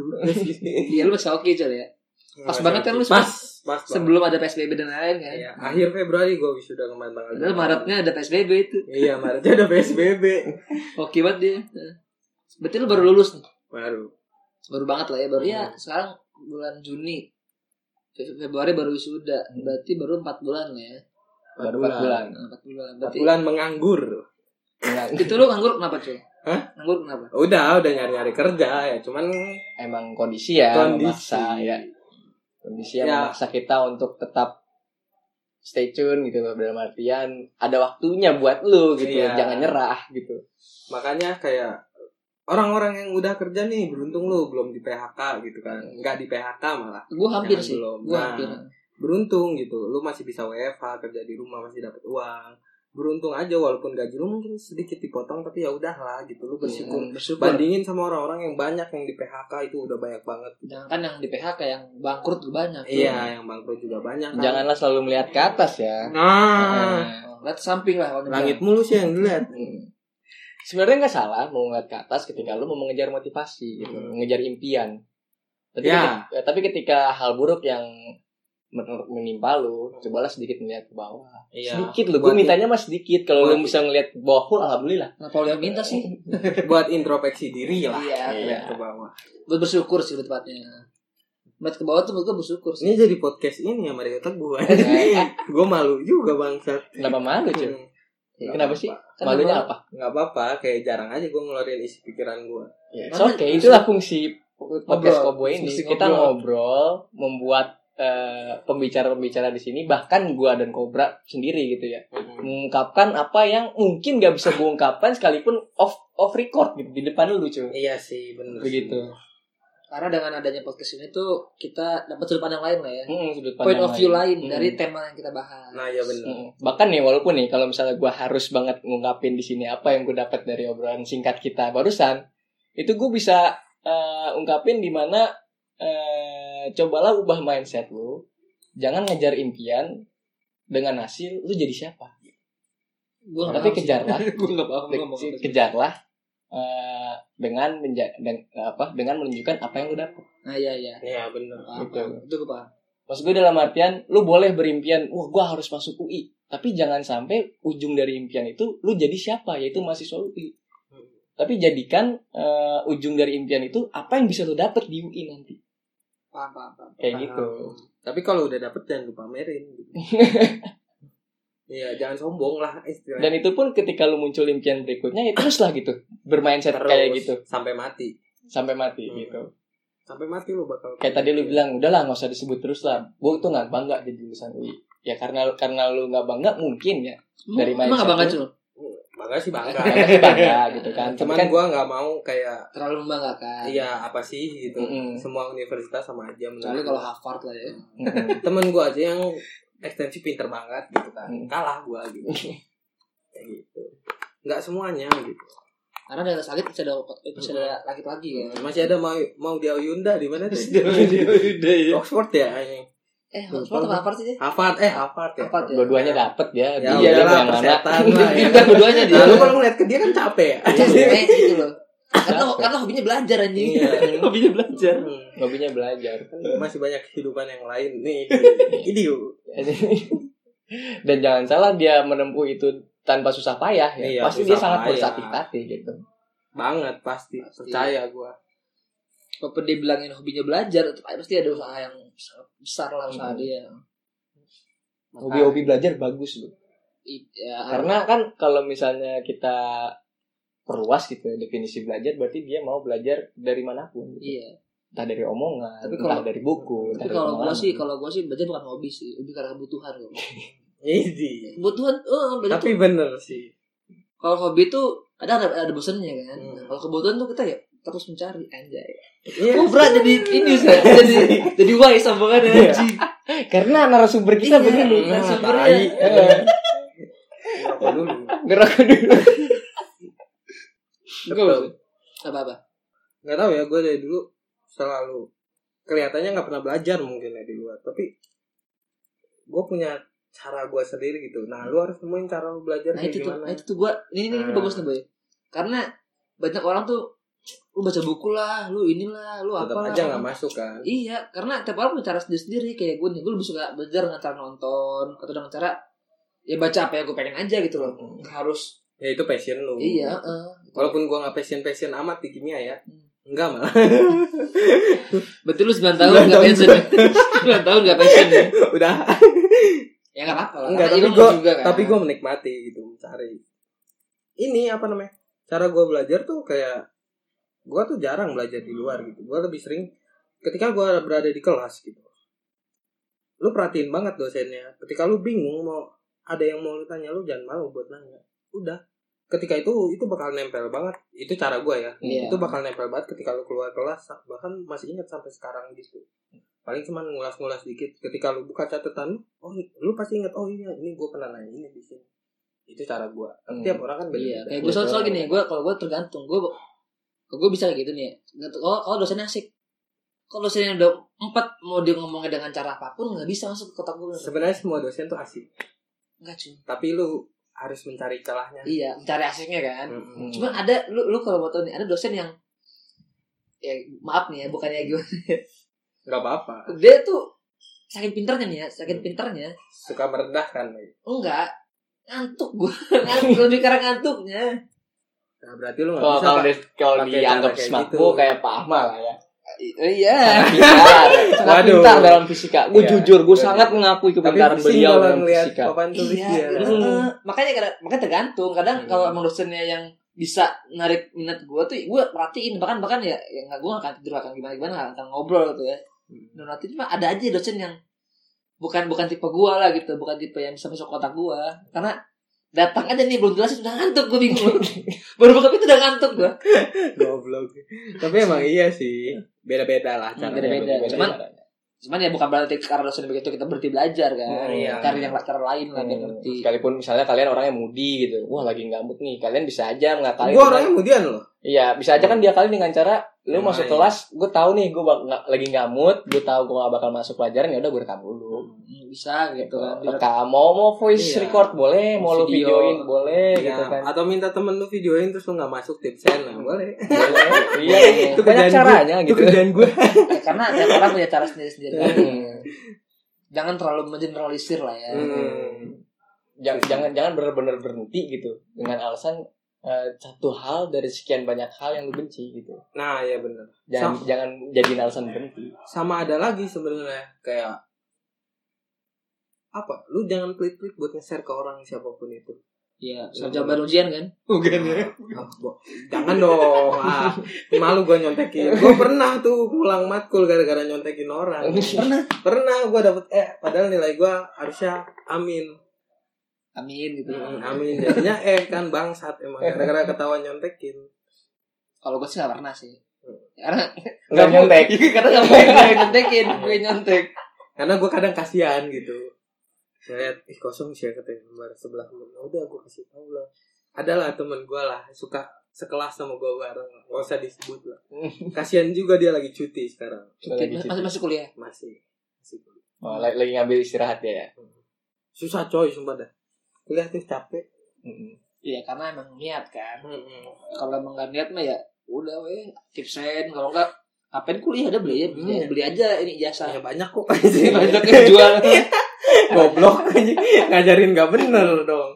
[SPEAKER 3] 2020
[SPEAKER 1] Iya lu masih oke Cel, ya. Pas banget kan lu
[SPEAKER 3] <laughs> Iya, pas pas sebelum
[SPEAKER 1] Sebelum ada PSBB dan lain-lain kan.
[SPEAKER 3] Iya, akhir Februari gua wisuda kemarin tanggal
[SPEAKER 1] Padahal
[SPEAKER 3] dua.
[SPEAKER 1] Maretnya ada PSBB itu.
[SPEAKER 3] iya Maretnya udah PSBB
[SPEAKER 1] Oke banget dia. Heeh. Berarti lu baru lulus nih.
[SPEAKER 3] baru
[SPEAKER 1] Baru banget lah ya. Baru ya sekarang bulan Juni. Fe- Februari baru wisuda. Berarti baru 4 bulan lah ya.
[SPEAKER 2] Baru empat bulan. Iya.
[SPEAKER 1] Nah, 4 bulan.
[SPEAKER 3] Empat
[SPEAKER 1] Berarti
[SPEAKER 3] bulan menganggur
[SPEAKER 2] Dengan-
[SPEAKER 1] itu lu nganggur kenapa cuy?
[SPEAKER 3] Hah?
[SPEAKER 1] Nganggur kenapa?
[SPEAKER 3] udah udah nyari nyari kerja ya cuman
[SPEAKER 2] emang kondisi ya
[SPEAKER 3] Kondisi.
[SPEAKER 2] memaksa ya kondisi yang
[SPEAKER 3] Ya.
[SPEAKER 2] memaksa kita untuk tetap stay tune gitu loh dalam artian ada waktunya buat lu gitu
[SPEAKER 3] Iya.
[SPEAKER 2] jangan nyerah gitu
[SPEAKER 3] makanya kayak orang-orang yang udah kerja nih beruntung lu belum di PHK gitu kan nggak di PHK malah
[SPEAKER 1] Gue hampir
[SPEAKER 3] Jangan
[SPEAKER 1] sih.
[SPEAKER 3] belum.
[SPEAKER 1] Gue
[SPEAKER 3] Nah.
[SPEAKER 1] hampir.
[SPEAKER 3] beruntung gitu lu masih bisa WFH kerja di rumah masih dapat uang beruntung aja walaupun gaji lu mungkin sedikit dipotong tapi ya udahlah gitu lu bersyukur
[SPEAKER 1] Bersyukur. Bersyukur.
[SPEAKER 3] bandingin sama orang-orang yang banyak yang di PHK itu udah banyak banget
[SPEAKER 1] Jangan kan yang di PHK yang bangkrut juga banyak.
[SPEAKER 3] iya yang bangkrut juga banyak kan.
[SPEAKER 2] janganlah selalu melihat ke atas ya
[SPEAKER 3] nah
[SPEAKER 1] Oh, Lihat samping lah. kalau
[SPEAKER 3] langit mulu sih yang dilihat
[SPEAKER 2] Hmm. sebenarnya nggak salah mau melihat ke atas ketika lu mau mengejar motivasi gitu
[SPEAKER 3] Hmm.
[SPEAKER 2] mengejar impian tapi,
[SPEAKER 3] Ya.
[SPEAKER 2] ketika, tapi ketika hal buruk yang men- menimpa lu cobalah sedikit melihat ke bawah sedikit lu gue
[SPEAKER 3] Iya. Buat-
[SPEAKER 2] mintanya mah sedikit kalau lu
[SPEAKER 3] buat-
[SPEAKER 2] bisa ngelihat ke bawah full alhamdulillah
[SPEAKER 1] Nah, Paul yang minta sih.
[SPEAKER 3] buat introspeksi diri lah
[SPEAKER 1] Iya.
[SPEAKER 3] Lihat ke bawah
[SPEAKER 1] Buat bersyukur sih lebih tepatnya. Buat ke bawah tuh gue bersyugur sih.
[SPEAKER 3] ini jadi podcast ini ya Mario
[SPEAKER 1] Iya.
[SPEAKER 3] Teguh <laughs> gue malu juga Hmm. bangsa
[SPEAKER 2] kenapa malu
[SPEAKER 3] Iya.
[SPEAKER 2] cuy Kenapa sih?
[SPEAKER 1] Kan emang-
[SPEAKER 2] Malunya apa?
[SPEAKER 3] nggak apa-apa kayak jarang aja gue ngeluarin isi pikiran gue
[SPEAKER 2] Ya,
[SPEAKER 1] Karena-
[SPEAKER 2] Oke, itulah fungsi
[SPEAKER 1] gitu. Ngobrol.
[SPEAKER 2] podcast Kobo ini.
[SPEAKER 1] Fungsi
[SPEAKER 2] Kita
[SPEAKER 1] ngobrol.
[SPEAKER 2] ngobrol, membuat eh, pembicara-pembicara di sini, bahkan gua dan Kobra sendiri gitu ya, mengungkapkan apa yang mungkin gak bisa gue ungkapkan sekalipun off off record gitu, di depan lu cuy.
[SPEAKER 3] iya sih bener
[SPEAKER 2] Begitu.
[SPEAKER 1] Karena dengan adanya podcast ini tuh kita dapat sudut pandang lain lah ya.
[SPEAKER 2] Mm, sudut
[SPEAKER 1] Point
[SPEAKER 2] pandang
[SPEAKER 1] of view lain
[SPEAKER 2] Mm.
[SPEAKER 1] dari tema yang kita bahas.
[SPEAKER 3] nah ya
[SPEAKER 1] Gitu.
[SPEAKER 3] bener
[SPEAKER 2] Mm. Bahkan nih walaupun nih kalau misalnya gua harus banget ngungkapin di sini apa yang gue dapat dari obrolan singkat kita barusan, itu gue bisa eh, ungkapin di mana eh, cobalah ubah mindset lu, jangan ngejar impian dengan hasil lu jadi siapa.
[SPEAKER 1] Gue nggak
[SPEAKER 2] Tapi
[SPEAKER 1] paham sih.
[SPEAKER 2] kejarlah,
[SPEAKER 1] Gue nggak paham. <laughs> gua nggak mau
[SPEAKER 2] Ke-
[SPEAKER 1] ngomong.
[SPEAKER 2] kejarlah eh, dengan menja dan- apa dengan menunjukkan apa yang lu dapat.
[SPEAKER 1] Nah iya iya.
[SPEAKER 3] Iya bener
[SPEAKER 1] Paham,
[SPEAKER 2] Gitu.
[SPEAKER 1] paham. Itu gue paham.
[SPEAKER 2] Maksud gue dalam artian lu boleh berimpian, wah gua harus masuk UI, tapi jangan sampai ujung dari impian itu lu jadi siapa, yaitu mahasiswa UI. Tapi jadikan eh, ujung dari impian itu apa yang bisa lu dapet di UI nanti.
[SPEAKER 1] Paham paham paham.
[SPEAKER 2] Kayak gitu.
[SPEAKER 3] Tapi kalau udah dapet jangan lupa pamerin
[SPEAKER 2] <laughs>
[SPEAKER 3] gitu. Iya, jangan sombong lah istilahnya.
[SPEAKER 2] Dan itu pun ketika lu muncul impian berikutnya ya teruslah gitu. Bermindset
[SPEAKER 3] Terus,
[SPEAKER 2] kayak gitu
[SPEAKER 3] sampai mati.
[SPEAKER 2] sampai mati
[SPEAKER 3] Hmm. Iya.
[SPEAKER 2] gitu.
[SPEAKER 3] Sampai mati lu bakal
[SPEAKER 2] Kayak tadi lu bilang udahlah nggak usah disebut terus lah. Gue tuh nggak bangga jadi lulusan UI. Ya karena karena lu nggak bangga mungkin ya. Dari
[SPEAKER 1] Emang
[SPEAKER 2] mindset
[SPEAKER 1] nggak bangga
[SPEAKER 2] lu?
[SPEAKER 1] cuy?
[SPEAKER 3] bangga sih bangga.
[SPEAKER 2] Karena sih bangga gitu <laughs> kan. Tapi
[SPEAKER 3] Cuman
[SPEAKER 2] kan
[SPEAKER 3] gua nggak mau kayak
[SPEAKER 1] Terlalu membanggakan.
[SPEAKER 3] iya apa sih gitu. <laughs>
[SPEAKER 2] Mm-mm.
[SPEAKER 3] Semua universitas sama aja menurut
[SPEAKER 1] Kecuali
[SPEAKER 3] gua.
[SPEAKER 1] kalau Harvard lah ya.
[SPEAKER 2] Mm-mm.
[SPEAKER 3] temen gua aja yang ekstensi pinter banget gitu kan.
[SPEAKER 1] Hmm.
[SPEAKER 2] Mm.
[SPEAKER 3] Kalah gua
[SPEAKER 1] <laughs>
[SPEAKER 3] gitu. kayak gitu. Nggak semuanya gitu.
[SPEAKER 1] Karena daerah sakit masih ada masih ada laki lagi ya.
[SPEAKER 3] Masih ada mau mau dia Yunda di mana tuh? <laughs> Oxford ya anjing.
[SPEAKER 1] Eh, Harvard atau Harvard sih?
[SPEAKER 3] Harvard eh Harvard ya.
[SPEAKER 1] Harvard ya.
[SPEAKER 2] Iya. dua-duanya dapet ya,
[SPEAKER 3] Ya
[SPEAKER 2] dia dia
[SPEAKER 3] udahlah,
[SPEAKER 2] yang mana
[SPEAKER 1] <laughs>
[SPEAKER 2] <laughs>
[SPEAKER 3] persetan lah ya.
[SPEAKER 1] Bukan dua-duanya dia.
[SPEAKER 3] Nah, lu kalau ngeliat ke dia kan capek ya.
[SPEAKER 1] Iya, sebenarnya gitu loh. Karena karena hobinya belajar anjing.
[SPEAKER 3] Iya.
[SPEAKER 1] hobinya belajar.
[SPEAKER 3] Hmm. Kan
[SPEAKER 2] hobinya belajar <laughs>
[SPEAKER 3] Masih banyak kehidupan yang lain nih.
[SPEAKER 1] Iya.
[SPEAKER 3] Ini yuk.
[SPEAKER 2] dan jangan salah dia menempuh itu tanpa susah payah ya
[SPEAKER 3] Iya,
[SPEAKER 2] pasti dia
[SPEAKER 3] susah
[SPEAKER 2] sangat
[SPEAKER 3] payah.
[SPEAKER 2] bertatih-tatih gitu
[SPEAKER 3] banget pasti.
[SPEAKER 1] Pasti.
[SPEAKER 3] Percaya gua.
[SPEAKER 1] <laughs> Walaupun dia bilangin hobinya belajar, tetap aja pasti ada usaha yang sangat besar lah usaha
[SPEAKER 2] Hmm.
[SPEAKER 1] dia.
[SPEAKER 2] hobi-hobi belajar bagus loh
[SPEAKER 1] I- Ya,
[SPEAKER 2] karena kan kalau misalnya kita perluas gitu ya, definisi belajar berarti dia mau belajar dari manapun
[SPEAKER 1] iya.
[SPEAKER 2] entah dari omongan
[SPEAKER 1] Tapi
[SPEAKER 2] entah
[SPEAKER 1] kalau-
[SPEAKER 2] dari buku entah
[SPEAKER 1] Tapi
[SPEAKER 2] dari
[SPEAKER 1] kalau gua
[SPEAKER 2] pengalaman.
[SPEAKER 1] sih, kalau gua sih belajar bukan hobi sih, lebih karena kebutuhan gua.
[SPEAKER 3] Ini.
[SPEAKER 1] Kebutuhan, eh belajar
[SPEAKER 3] Tapi bener sih.
[SPEAKER 1] kalau hobi tuh kadang ada, ada bosannya kan.
[SPEAKER 3] Hmm.
[SPEAKER 1] Kalau kebutuhan tuh kita ya terus mencari anjay.
[SPEAKER 3] Iya.
[SPEAKER 1] Gue berat jadi ini Ustaz. <laughs> jadi jadi wise omongannya
[SPEAKER 2] <laughs> Iya.
[SPEAKER 1] anjing.
[SPEAKER 2] Karena narasumber kita
[SPEAKER 1] Iya,
[SPEAKER 2] begini.
[SPEAKER 1] narasumbernya.
[SPEAKER 2] <laughs> Tai. Eh,
[SPEAKER 3] Ngerokok dulu.
[SPEAKER 2] Ngerokok dulu.
[SPEAKER 1] Gue apa apa.
[SPEAKER 3] Gak tahu ya, gue dari dulu selalu kelihatannya nggak pernah belajar mungkin ya di luar. Tapi gue punya cara gue sendiri gitu. Nah, lu harus nemuin cara lu belajar
[SPEAKER 1] Nah
[SPEAKER 3] kayak
[SPEAKER 1] itu tuh,
[SPEAKER 3] gimana.
[SPEAKER 1] nah, itu tuh gue ini, ini, ini
[SPEAKER 3] Hmm.
[SPEAKER 1] bagus nih boy. Karena banyak orang tuh lu baca buku lah, lu inilah, lu
[SPEAKER 3] Tetap
[SPEAKER 1] apa
[SPEAKER 3] aja nggak masuk kan.
[SPEAKER 1] Iya, karena tiap orang punya cara sendiri-sendiri. Kayak gue nih, gue lebih suka belajar dengan cara nonton atau dengan cara ya baca apa yang gue pengen aja gitu loh.
[SPEAKER 3] Mm.
[SPEAKER 1] Nggak harus
[SPEAKER 3] Ya itu passion lu.
[SPEAKER 1] iya. eh.
[SPEAKER 3] Walaupun gue nggak passion-passion amat di kimia ya.
[SPEAKER 1] Hmm.
[SPEAKER 3] Enggak malah. <laughs>
[SPEAKER 1] Berarti lu 9 tahun nggak pensiun ya? 9 tahun nggak pensiun ya?
[SPEAKER 3] Udah
[SPEAKER 1] Ya nggak apa-apa lah.
[SPEAKER 3] Enggak,
[SPEAKER 1] karena
[SPEAKER 3] tapi
[SPEAKER 1] ilmu
[SPEAKER 3] gua-
[SPEAKER 1] juga kan.
[SPEAKER 3] tapi gue menikmati gitu mencari ini apa namanya cara gue belajar tuh kayak gue tuh jarang belajar di luar gitu gue lebih sering ketika gue berada di kelas gitu lu perhatiin banget dosennya ketika lu bingung mau ada yang mau lu tanya lu jangan malu buat nanya udah ketika itu itu bakal nempel banget itu cara gue ya
[SPEAKER 1] Iya.
[SPEAKER 3] itu bakal nempel banget ketika lu keluar kelas bahkan masih ingat sampai sekarang gitu paling cuman ngulas-ngulas dikit ketika lu buka catatan oh lu pasti ingat oh iya ini gue pernah nanya ini di sini itu cara gue
[SPEAKER 2] Hmm.
[SPEAKER 3] tiap orang kan beda
[SPEAKER 1] Iya, kayak gue soal soal gini, gue kalau gue tergantung, gue gue bisa kayak gitu nih. ya. Tergantung- Kalau kalau dosennya asik, kalau dosennya udah empat mau dia ngomongnya dengan cara apapun nggak bisa masuk ke kotak gue.
[SPEAKER 3] sebenarnya semua dosen tuh asik
[SPEAKER 1] Enggak cuy.
[SPEAKER 3] tapi lu harus mencari celahnya
[SPEAKER 1] Iya, mencari asiknya kan.
[SPEAKER 3] Mm-mm.
[SPEAKER 1] Cuma ada lu lu kalau mau tahu nih, ada dosen yang ya maaf nih ya, bukannya gimana.
[SPEAKER 3] nggak apa-apa
[SPEAKER 1] Dia tuh saking pintarnya nih ya, saking pintarnya
[SPEAKER 3] suka kan, merendahkan lagi
[SPEAKER 1] enggak ngantuk gue ngantuk <laughs> lebih karena ngantuknya
[SPEAKER 3] nah, berarti lu nggak
[SPEAKER 2] Kalau
[SPEAKER 3] bisa
[SPEAKER 2] kalau
[SPEAKER 3] Pak.
[SPEAKER 2] di- kalau
[SPEAKER 3] Pakai
[SPEAKER 2] dianggap
[SPEAKER 3] cara kayak
[SPEAKER 2] smart
[SPEAKER 3] gitu.
[SPEAKER 2] gua kayak Pak Ahmad
[SPEAKER 3] <laughs>
[SPEAKER 2] lah ya.
[SPEAKER 1] iya
[SPEAKER 2] Sangat pintar, sangat
[SPEAKER 3] Waduh.
[SPEAKER 2] pintar dalam fisika. Gue
[SPEAKER 3] Iya.
[SPEAKER 2] jujur, gue
[SPEAKER 3] Iya.
[SPEAKER 2] sangat mengakui
[SPEAKER 3] tapi
[SPEAKER 2] kebenaran
[SPEAKER 3] pusing
[SPEAKER 2] beliau
[SPEAKER 3] kalau
[SPEAKER 2] dalam
[SPEAKER 3] ngeliat
[SPEAKER 2] fisika.
[SPEAKER 3] papan tulis
[SPEAKER 1] iya <laughs>
[SPEAKER 3] dia
[SPEAKER 1] eh, eh. makanya kadang- makanya tergantung kadang
[SPEAKER 3] Hmm.
[SPEAKER 1] kalau emang dosennya yang bisa narik minat gue tuh gue perhatiin bahkan bahkan ya ya nggak gue akan tidur akan gimana gimana nggak akan ngobrol gitu ya
[SPEAKER 3] Hmm.
[SPEAKER 1] dan nanti cuma ada aja dosen yang bukan bukan tipe gue lah gitu bukan tipe yang bisa masuk kotak gue karena datang aja nih belum jelas udah ngantuk gue
[SPEAKER 3] <laughs>
[SPEAKER 1] bingung baru buka pintu udah ngantuk gue
[SPEAKER 3] goblok tapi emang iya sih beda-beda lah cara
[SPEAKER 1] Hmm, beda-beda. Cuman- cuman ya bukan berarti karena dosen begitu kita berhenti belajar kan
[SPEAKER 3] Hmm, iya. Hmm.
[SPEAKER 1] cari yang cara lain lah biar ngerti
[SPEAKER 2] sekalipun misalnya kalian orangnya mudi gitu, wah lagi ngamuk nih, kalian bisa aja ngakali.
[SPEAKER 3] gue orangnya Hmm. Iya, kemudian loh
[SPEAKER 2] Iya, bisa aja kan dia kali dengan cara lu
[SPEAKER 3] Yang
[SPEAKER 2] masuk
[SPEAKER 3] lain.
[SPEAKER 2] kelas, gue tahu nih gue lagi ngamut, gue tahu gue gak bakal masuk pelajaran ya udah gue rekam dulu.
[SPEAKER 1] Hmm, bisa gitu kan biar-
[SPEAKER 2] Rekam Oh, mau mau voice
[SPEAKER 3] Iya.
[SPEAKER 2] record boleh, mau lu
[SPEAKER 1] Video.
[SPEAKER 2] videoin boleh
[SPEAKER 3] Iya,
[SPEAKER 2] gitu
[SPEAKER 3] <laughs>
[SPEAKER 2] kan.
[SPEAKER 3] atau minta temen lu videoin terus lu nggak masuk tipsen nah, boleh
[SPEAKER 2] Boleh. Iya,
[SPEAKER 3] Itu
[SPEAKER 2] banyak
[SPEAKER 3] kerjaan
[SPEAKER 2] caranya
[SPEAKER 3] itu
[SPEAKER 2] <laughs> gitu.
[SPEAKER 3] kerjaan gue
[SPEAKER 1] Ya, karena tiap orang punya cara sendiri-sendiri kan.
[SPEAKER 2] Hmm.
[SPEAKER 1] jangan terlalu mengeneralisir lah ya
[SPEAKER 3] Hmm.
[SPEAKER 2] jangan jangan jangan benar-benar berhenti gitu dengan alasan eh, satu hal dari sekian banyak hal yang lu benci gitu
[SPEAKER 3] nah ya bener
[SPEAKER 2] jangan jangan jadiin alasan berhenti
[SPEAKER 3] sama ada lagi sebenarnya kayak apa lu jangan pelit-pelit buat nge-share ke orang siapapun itu
[SPEAKER 1] Iya, soal jawaban ujian kan bukan
[SPEAKER 3] Ah, bo- jangan dong ah, malu gue nyontekin gue pernah tuh pulang matkul gara-gara nyontekin orang
[SPEAKER 1] pernah
[SPEAKER 3] pernah gue dapet eh padahal nilai gue harusnya amin
[SPEAKER 1] amin gitu
[SPEAKER 3] Mm, amin jadinya eh kan bangsat emang gara-gara ketawa nyontekin
[SPEAKER 1] kalau gue sih gak pernah sih karena
[SPEAKER 2] <laughs>
[SPEAKER 1] Iya,
[SPEAKER 2] nggak
[SPEAKER 1] <laughs>
[SPEAKER 2] nyontek
[SPEAKER 1] karena gak mau gue nyontekin gue nyontek
[SPEAKER 3] karena gue kadang kasihan gitu ngeliat ih kosong sih ya katanya gambar sebelah temen udah gue kasih tau lah adalah temen gue lah suka sekelas sama gue bareng lah. gak usah disebut
[SPEAKER 2] <laughs>
[SPEAKER 3] lah kasihan juga dia lagi cuti sekarang
[SPEAKER 2] Lagi cuti.
[SPEAKER 1] masih masih kuliah
[SPEAKER 3] masih masih kuliah.
[SPEAKER 2] Wah, lagi, lagi ngambil istirahat ya, ya.
[SPEAKER 3] susah coy sumpah dah kuliah tuh capek
[SPEAKER 2] Mm-mm.
[SPEAKER 1] iya karena emang niat kan kalau emang gak niat mah ya udah weh tipsen kalau enggak ngapain kuliah udah beli ya beli,
[SPEAKER 3] Iya.
[SPEAKER 1] beli aja ini jasa
[SPEAKER 2] Nah.
[SPEAKER 3] saya banyak
[SPEAKER 2] <laughs>
[SPEAKER 3] kok
[SPEAKER 2] Hmm.
[SPEAKER 1] banyak
[SPEAKER 3] <laughs>
[SPEAKER 1] yang jual
[SPEAKER 3] goblok ngajarin gak bener
[SPEAKER 2] <laughs>
[SPEAKER 3] dong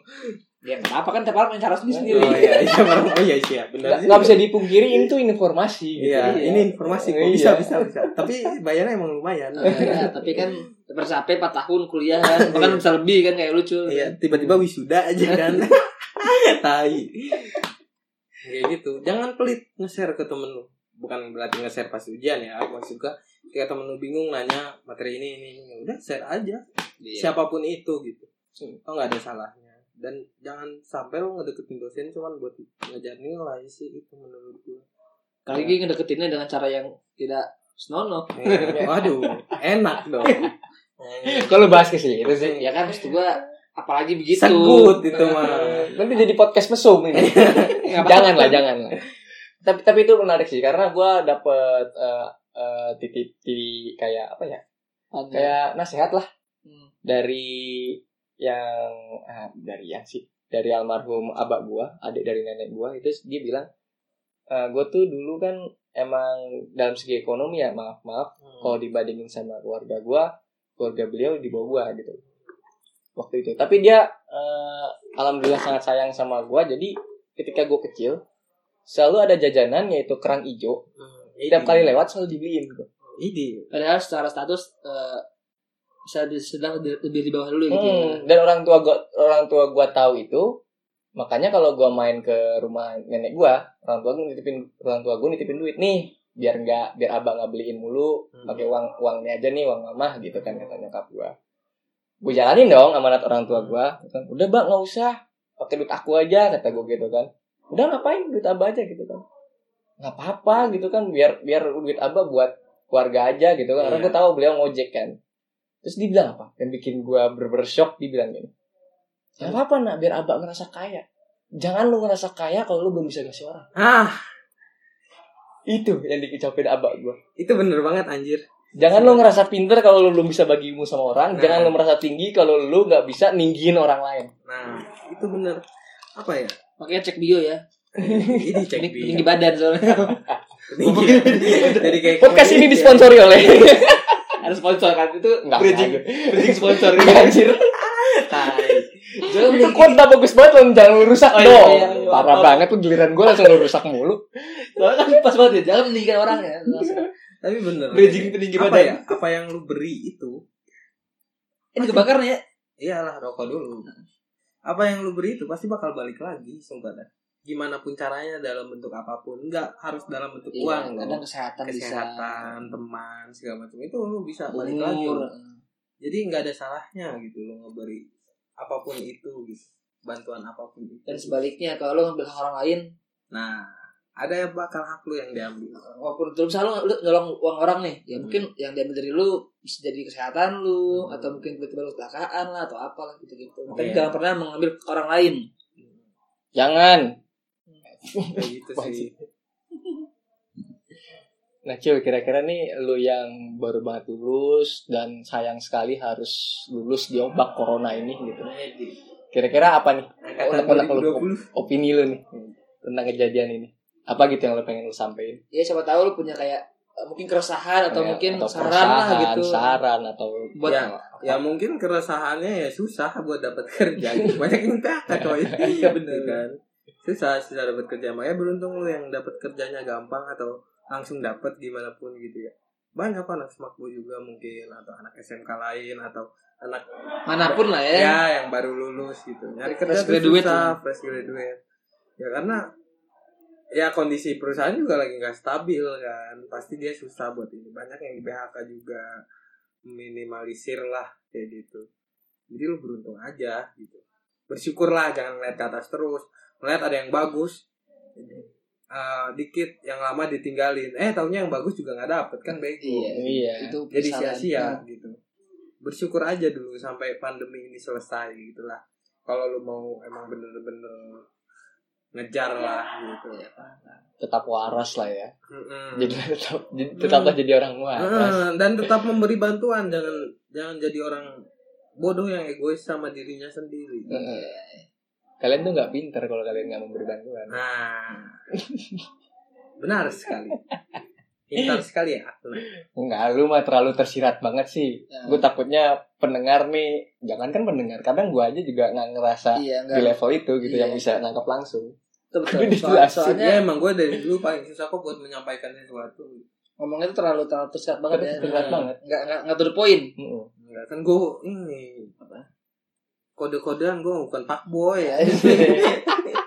[SPEAKER 1] ya kenapa kan tiap orang punya cara sendiri
[SPEAKER 3] oh
[SPEAKER 1] <laughs>
[SPEAKER 3] iya iya barang- oh iya iya bener
[SPEAKER 2] nggak nggak bisa dipungkiri itu informasi gitu.
[SPEAKER 3] Iya, ini informasi kok.
[SPEAKER 2] Iya.
[SPEAKER 3] Bisa, bisa, bisa. Tapi bayarnya emang lumayan.
[SPEAKER 1] Iya, tapi kan bersampai 4 tahun kuliah kan, bahkan bisa lebih kan kayak lucu.
[SPEAKER 3] Iya, tiba-tiba wisuda aja <laughs> kan. Tai. Kayak gitu. Jangan pelit nge-share ke temen lu. Bukan berarti nge-share pas ujian ya. Maksud gua ketika temen lu bingung nanya materi ini ini, ini. Ya udah share aja. Iya.
[SPEAKER 1] Siap.
[SPEAKER 3] Siapapun itu gitu. Oh nggak ada salahnya. Dan jangan sampai lu ngedeketin dosen cuman buat ngejar nilai sih itu gitu menurut gua.
[SPEAKER 1] Kali ini ngedeketinnya dengan cara yang tidak senonoh.
[SPEAKER 3] Eh, Waduh, enak dong.
[SPEAKER 2] Kalau bahas ke sini itu sih.
[SPEAKER 1] Ya kan maksud gua apalagi begitu. Nah,
[SPEAKER 3] Segut itu mah.
[SPEAKER 2] Nanti jadi podcast mesum ini.
[SPEAKER 1] <laughs> Nggak apa-apa.
[SPEAKER 2] jangan lah, jangan lah. Tapi tapi itu menarik sih karena gue dapet eh, eh, titip titip kayak apa ya? Kayak nasihat lah
[SPEAKER 1] Hmm.
[SPEAKER 2] dari yang ah, dari yang sih dari almarhum abah gua adik dari nenek gua itu dia bilang "Eh, gua tuh dulu kan emang dalam segi ekonomi ya maaf maaf
[SPEAKER 3] Hmm,
[SPEAKER 2] kalau dibandingin sama keluarga gua keluarga beliau di bawah gua gitu waktu itu tapi dia eh, alhamdulillah sangat sayang sama gua jadi ketika gua kecil selalu ada jajanan yaitu kerang ijo tiap kali lewat selalu dibeliin gitu. gua.
[SPEAKER 3] hmm, Ini.
[SPEAKER 1] Padahal secara status eh, bisa di, sedang di- lebih di bawah dulu gitu. ya.
[SPEAKER 2] Hmm, dan orang tua gua orang tua gua tahu itu makanya kalau gua main ke rumah nenek gua orang tua gua nitipin orang tua gua nitipin duit nih biar nggak biar abang nggak beliin mulu
[SPEAKER 3] Hmm.
[SPEAKER 2] pakai uang uangnya aja nih uang mama gitu kan kata nyokap gua gua jalanin dong amanat orang tua gua Kata, udah bang nggak usah pakai duit aku aja kata gua gitu kan udah ngapain duit abah aja gitu kan nggak apa-apa gitu kan biar biar duit abah buat keluarga aja gitu kan karena
[SPEAKER 3] Iya.
[SPEAKER 2] gua tahu beliau ngojek kan terus dia bilang apa yang bikin gua berber shock dia bilang gini nggak apa-apa nak biar abah ngerasa kaya jangan lu ngerasa kaya kalau lu belum bisa ngasih orang
[SPEAKER 3] Ah,
[SPEAKER 2] itu yang dikecapin abah gua
[SPEAKER 3] itu bener banget anjir.
[SPEAKER 1] Iya.
[SPEAKER 2] jangan lu ngerasa pinter kalau lu belum bisa bagi ilmu sama orang
[SPEAKER 3] Nah.
[SPEAKER 2] jangan lu merasa tinggi kalau lu nggak bisa ninggiin orang lain
[SPEAKER 3] Nah, itu bener. Apa ya?
[SPEAKER 1] Makanya cek bio ya.
[SPEAKER 3] Ini cek
[SPEAKER 1] Ini
[SPEAKER 3] bio.
[SPEAKER 1] tinggi badan soalnya.
[SPEAKER 3] <laughs> Tinggi. iya,
[SPEAKER 1] <laughs>
[SPEAKER 3] Jadi kayak gitu ya.
[SPEAKER 2] podcast ini disponsori oleh
[SPEAKER 1] Iya, Ada sponsor kan itu
[SPEAKER 2] Nggak,
[SPEAKER 1] bridging,
[SPEAKER 2] nggak.
[SPEAKER 1] bridging
[SPEAKER 2] <laughs>
[SPEAKER 1] sponsor.
[SPEAKER 2] anjir
[SPEAKER 1] Jangan
[SPEAKER 2] itu
[SPEAKER 1] beli-
[SPEAKER 2] kuota bagus banget lo jangan lu rusak
[SPEAKER 1] Oh, iya,
[SPEAKER 2] dong
[SPEAKER 1] iya, iya.
[SPEAKER 2] parah
[SPEAKER 1] Oh.
[SPEAKER 2] banget lu giliran gua langsung lu rusak mulu
[SPEAKER 1] Soalnya kan pas banget ya, jangan meninggikan orang ya.
[SPEAKER 3] Tapi bener.
[SPEAKER 1] Bridging tinggi
[SPEAKER 3] apa
[SPEAKER 1] badan.
[SPEAKER 3] ya? Apa yang lu beri itu?
[SPEAKER 1] Ini kebakar nih ya.
[SPEAKER 3] Iyalah rokok dulu. Apa yang lu beri itu pasti bakal balik lagi, sumpah dah. Gimana pun caranya dalam bentuk apapun, nggak harus dalam bentuk
[SPEAKER 1] Iya,
[SPEAKER 3] uang. loh.
[SPEAKER 1] kadang kesehatan,
[SPEAKER 3] kesehatan, teman, segala macam itu lu bisa
[SPEAKER 1] bisa.
[SPEAKER 3] balik lagi.
[SPEAKER 1] Umur.
[SPEAKER 3] loh. Jadi nggak ada salahnya gitu lo ngeberi apapun itu gitu, bantuan apapun itu.
[SPEAKER 1] Dan sebaliknya kalau lu ngambil hak orang lain,
[SPEAKER 3] Nah, ada yang bakal hak lu yang diambil.
[SPEAKER 1] walaupun terus misalnya lu, lu nyolong uang orang nih, ya
[SPEAKER 3] Hmm.
[SPEAKER 1] mungkin yang diambil dari lu bisa jadi kesehatan lu
[SPEAKER 3] Hmm.
[SPEAKER 1] atau mungkin tiba-tiba lu kecelakaan lah atau apalah gitu-gitu. Makanya
[SPEAKER 3] Iya.
[SPEAKER 1] jangan pernah mengambil hak orang lain.
[SPEAKER 2] jangan
[SPEAKER 3] Kayak gitu sih.
[SPEAKER 2] Nah, Cil, kira-kira nih lu yang baru banget lulus dan sayang sekali harus lulus di ombak corona ini gitu. Kira-kira apa nih
[SPEAKER 3] Angkatan
[SPEAKER 2] Unek-unek lu.
[SPEAKER 3] 2020.
[SPEAKER 2] opini lu nih tentang kejadian ini? Apa gitu yang lu pengen lu sampein?
[SPEAKER 1] Ya siapa tahu lu punya kayak eh, mungkin keresahan
[SPEAKER 3] Oh,
[SPEAKER 1] atau
[SPEAKER 3] iya.
[SPEAKER 2] Kayak-
[SPEAKER 1] mungkin saran lah
[SPEAKER 2] keresahan,
[SPEAKER 1] gitu.
[SPEAKER 2] Saran atau
[SPEAKER 1] Buat
[SPEAKER 3] Ya, ya mungkin keresahannya ya susah buat dapat <laughs> kerja gitu. banyak yang PHK coy <laughs> iya bener kan susah susah dapat kerja makanya beruntung lu yang dapat kerjanya gampang atau langsung dapat gimana pun gitu ya banyak kan anak smakbo juga mungkin atau anak SMK lain atau anak
[SPEAKER 1] manapun lah ya.
[SPEAKER 3] ya yang baru lulus gitu nyari kerja
[SPEAKER 1] Fresh
[SPEAKER 3] tuh
[SPEAKER 1] graduate
[SPEAKER 3] susah fresh graduate ya karena ya kondisi perusahaan juga lagi nggak stabil kan pasti dia susah buat ini banyak yang di PHK juga minimalisir lah kayak gitu jadi lu beruntung aja gitu bersyukurlah jangan ngeliat ke atas terus ngeliat ada yang bagus eh, dikit yang lama ditinggalin eh taunya yang bagus juga nggak dapet kan bego
[SPEAKER 1] Iya.
[SPEAKER 2] Iya.
[SPEAKER 1] Itu
[SPEAKER 3] jadi
[SPEAKER 1] kesalahan.
[SPEAKER 3] sia-sia gitu bersyukur aja dulu sampai pandemi ini selesai gitu lah kalau lu mau emang bener-bener ngejar lah gitu
[SPEAKER 2] tetap waras lah ya.
[SPEAKER 1] Hmm.
[SPEAKER 3] Mm-mm.
[SPEAKER 2] Jadi <laughs> tetap jadi- tetaplah jadi orang waras.
[SPEAKER 3] Mm, dan tetap memberi bantuan jangan jangan jadi orang bodoh yang egois sama dirinya sendiri
[SPEAKER 2] Heeh.
[SPEAKER 1] Iya,
[SPEAKER 2] Kalian tuh nggak pinter kalau kalian nggak memberi bantuan.
[SPEAKER 3] nah benar sekali pintar sekali ya aku.
[SPEAKER 2] Enggak, lu mah terlalu tersirat banget sih.
[SPEAKER 1] Ya.
[SPEAKER 2] Gue takutnya pendengar nih, jangan kan pendengar, kadang gue aja juga nggak ngerasa
[SPEAKER 1] Iya,
[SPEAKER 2] di
[SPEAKER 1] enggak.
[SPEAKER 2] level itu gitu
[SPEAKER 1] Iya.
[SPEAKER 2] yang bisa nangkap langsung.
[SPEAKER 1] Itu
[SPEAKER 3] <laughs>
[SPEAKER 1] betul.
[SPEAKER 2] Itu
[SPEAKER 1] Soal-
[SPEAKER 2] dijelasin.
[SPEAKER 1] soalnya
[SPEAKER 3] ya emang gue dari dulu paling susah kok buat menyampaikan sesuatu
[SPEAKER 1] ngomongnya tuh terlalu terlalu tersirat banget
[SPEAKER 2] Terlalu
[SPEAKER 1] ya.
[SPEAKER 2] tersirat banget.
[SPEAKER 1] Enggak enggak enggak to the
[SPEAKER 3] <laughs>
[SPEAKER 1] point.
[SPEAKER 2] Mm-mm.
[SPEAKER 3] Enggak kan gue ini apa? Kode-kodean gue bukan pak boy ya.
[SPEAKER 1] <laughs>
[SPEAKER 2] Iya.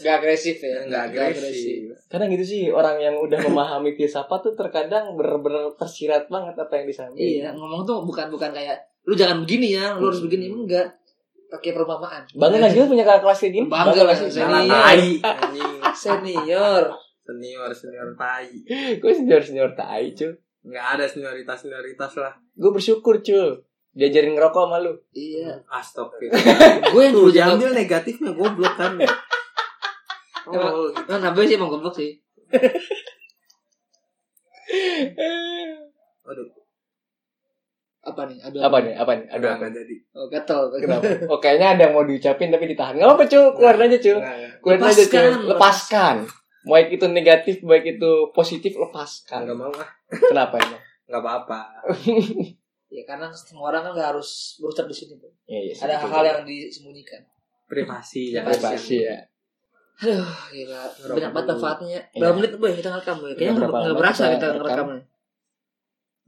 [SPEAKER 1] Enggak agresif ya.
[SPEAKER 3] Enggak agresif.
[SPEAKER 2] Kadang gitu sih orang yang udah memahami filsafat tuh terkadang bener-bener tersirat banget apa yang disampaikan.
[SPEAKER 1] Iya, ngomong tuh bukan bukan kayak lu jangan begini ya, lu
[SPEAKER 2] Hmm.
[SPEAKER 1] harus begini enggak. Pakai perumpamaan. Nah,
[SPEAKER 2] Bangga
[SPEAKER 3] Nah,
[SPEAKER 2] lagi lu punya kakak kelas kayak gini. <laughs>
[SPEAKER 3] iya.
[SPEAKER 1] Bangga lah,
[SPEAKER 2] sih.
[SPEAKER 1] Zeni.
[SPEAKER 3] Anak tai anjing.
[SPEAKER 1] senior.
[SPEAKER 3] senior senior tai
[SPEAKER 2] gue senior senior tai cuy
[SPEAKER 3] nggak ada senioritas senioritas lah
[SPEAKER 2] gue bersyukur cuy diajarin ngerokok sama lu <laughs>
[SPEAKER 1] Iya.
[SPEAKER 3] astagfirullah
[SPEAKER 1] Gue yang dulu
[SPEAKER 3] tuh
[SPEAKER 1] jago.
[SPEAKER 3] diambil negatifnya goblok
[SPEAKER 2] <laughs>
[SPEAKER 3] kan oh,
[SPEAKER 1] Nah, nambah sih emang goblok sih.
[SPEAKER 3] aduh
[SPEAKER 1] Apa nih? Aduh.
[SPEAKER 2] apa nih apa nih aduh
[SPEAKER 3] udah
[SPEAKER 2] apa
[SPEAKER 3] nggak
[SPEAKER 2] nih?
[SPEAKER 3] jadi
[SPEAKER 1] Oh, gatel.
[SPEAKER 2] kenapa oh kayaknya ada yang mau diucapin tapi ditahan nggak apa cuy keluarin aja cuy
[SPEAKER 3] Nggak, nggak.
[SPEAKER 2] keluarin aja cuy
[SPEAKER 1] Lepaskan.
[SPEAKER 2] lepaskan baik itu negatif baik itu positif lepaskan
[SPEAKER 3] nggak mau ah
[SPEAKER 2] kenapa emang
[SPEAKER 3] nggak apa-apa
[SPEAKER 1] Ya karena semua orang kan gak harus berucap di sini. Bro.
[SPEAKER 2] Iya, iya,
[SPEAKER 1] Ada
[SPEAKER 2] betul.
[SPEAKER 1] hal-hal yang disembunyikan.
[SPEAKER 3] privasi
[SPEAKER 1] Iya,
[SPEAKER 3] ya
[SPEAKER 2] privasi ya
[SPEAKER 1] Aduh, Ah, gila.
[SPEAKER 3] Ngerokok
[SPEAKER 1] Banyak banget
[SPEAKER 3] dulu.
[SPEAKER 1] manfaatnya.
[SPEAKER 2] Iya.
[SPEAKER 1] Berapa menit boy kita ngerekam boy? ya? Kayaknya
[SPEAKER 2] Udah
[SPEAKER 1] nggak
[SPEAKER 2] berapa
[SPEAKER 1] nggak
[SPEAKER 2] lama
[SPEAKER 1] berasa
[SPEAKER 2] kita
[SPEAKER 1] kita
[SPEAKER 2] rekam?
[SPEAKER 1] ngerekamnya.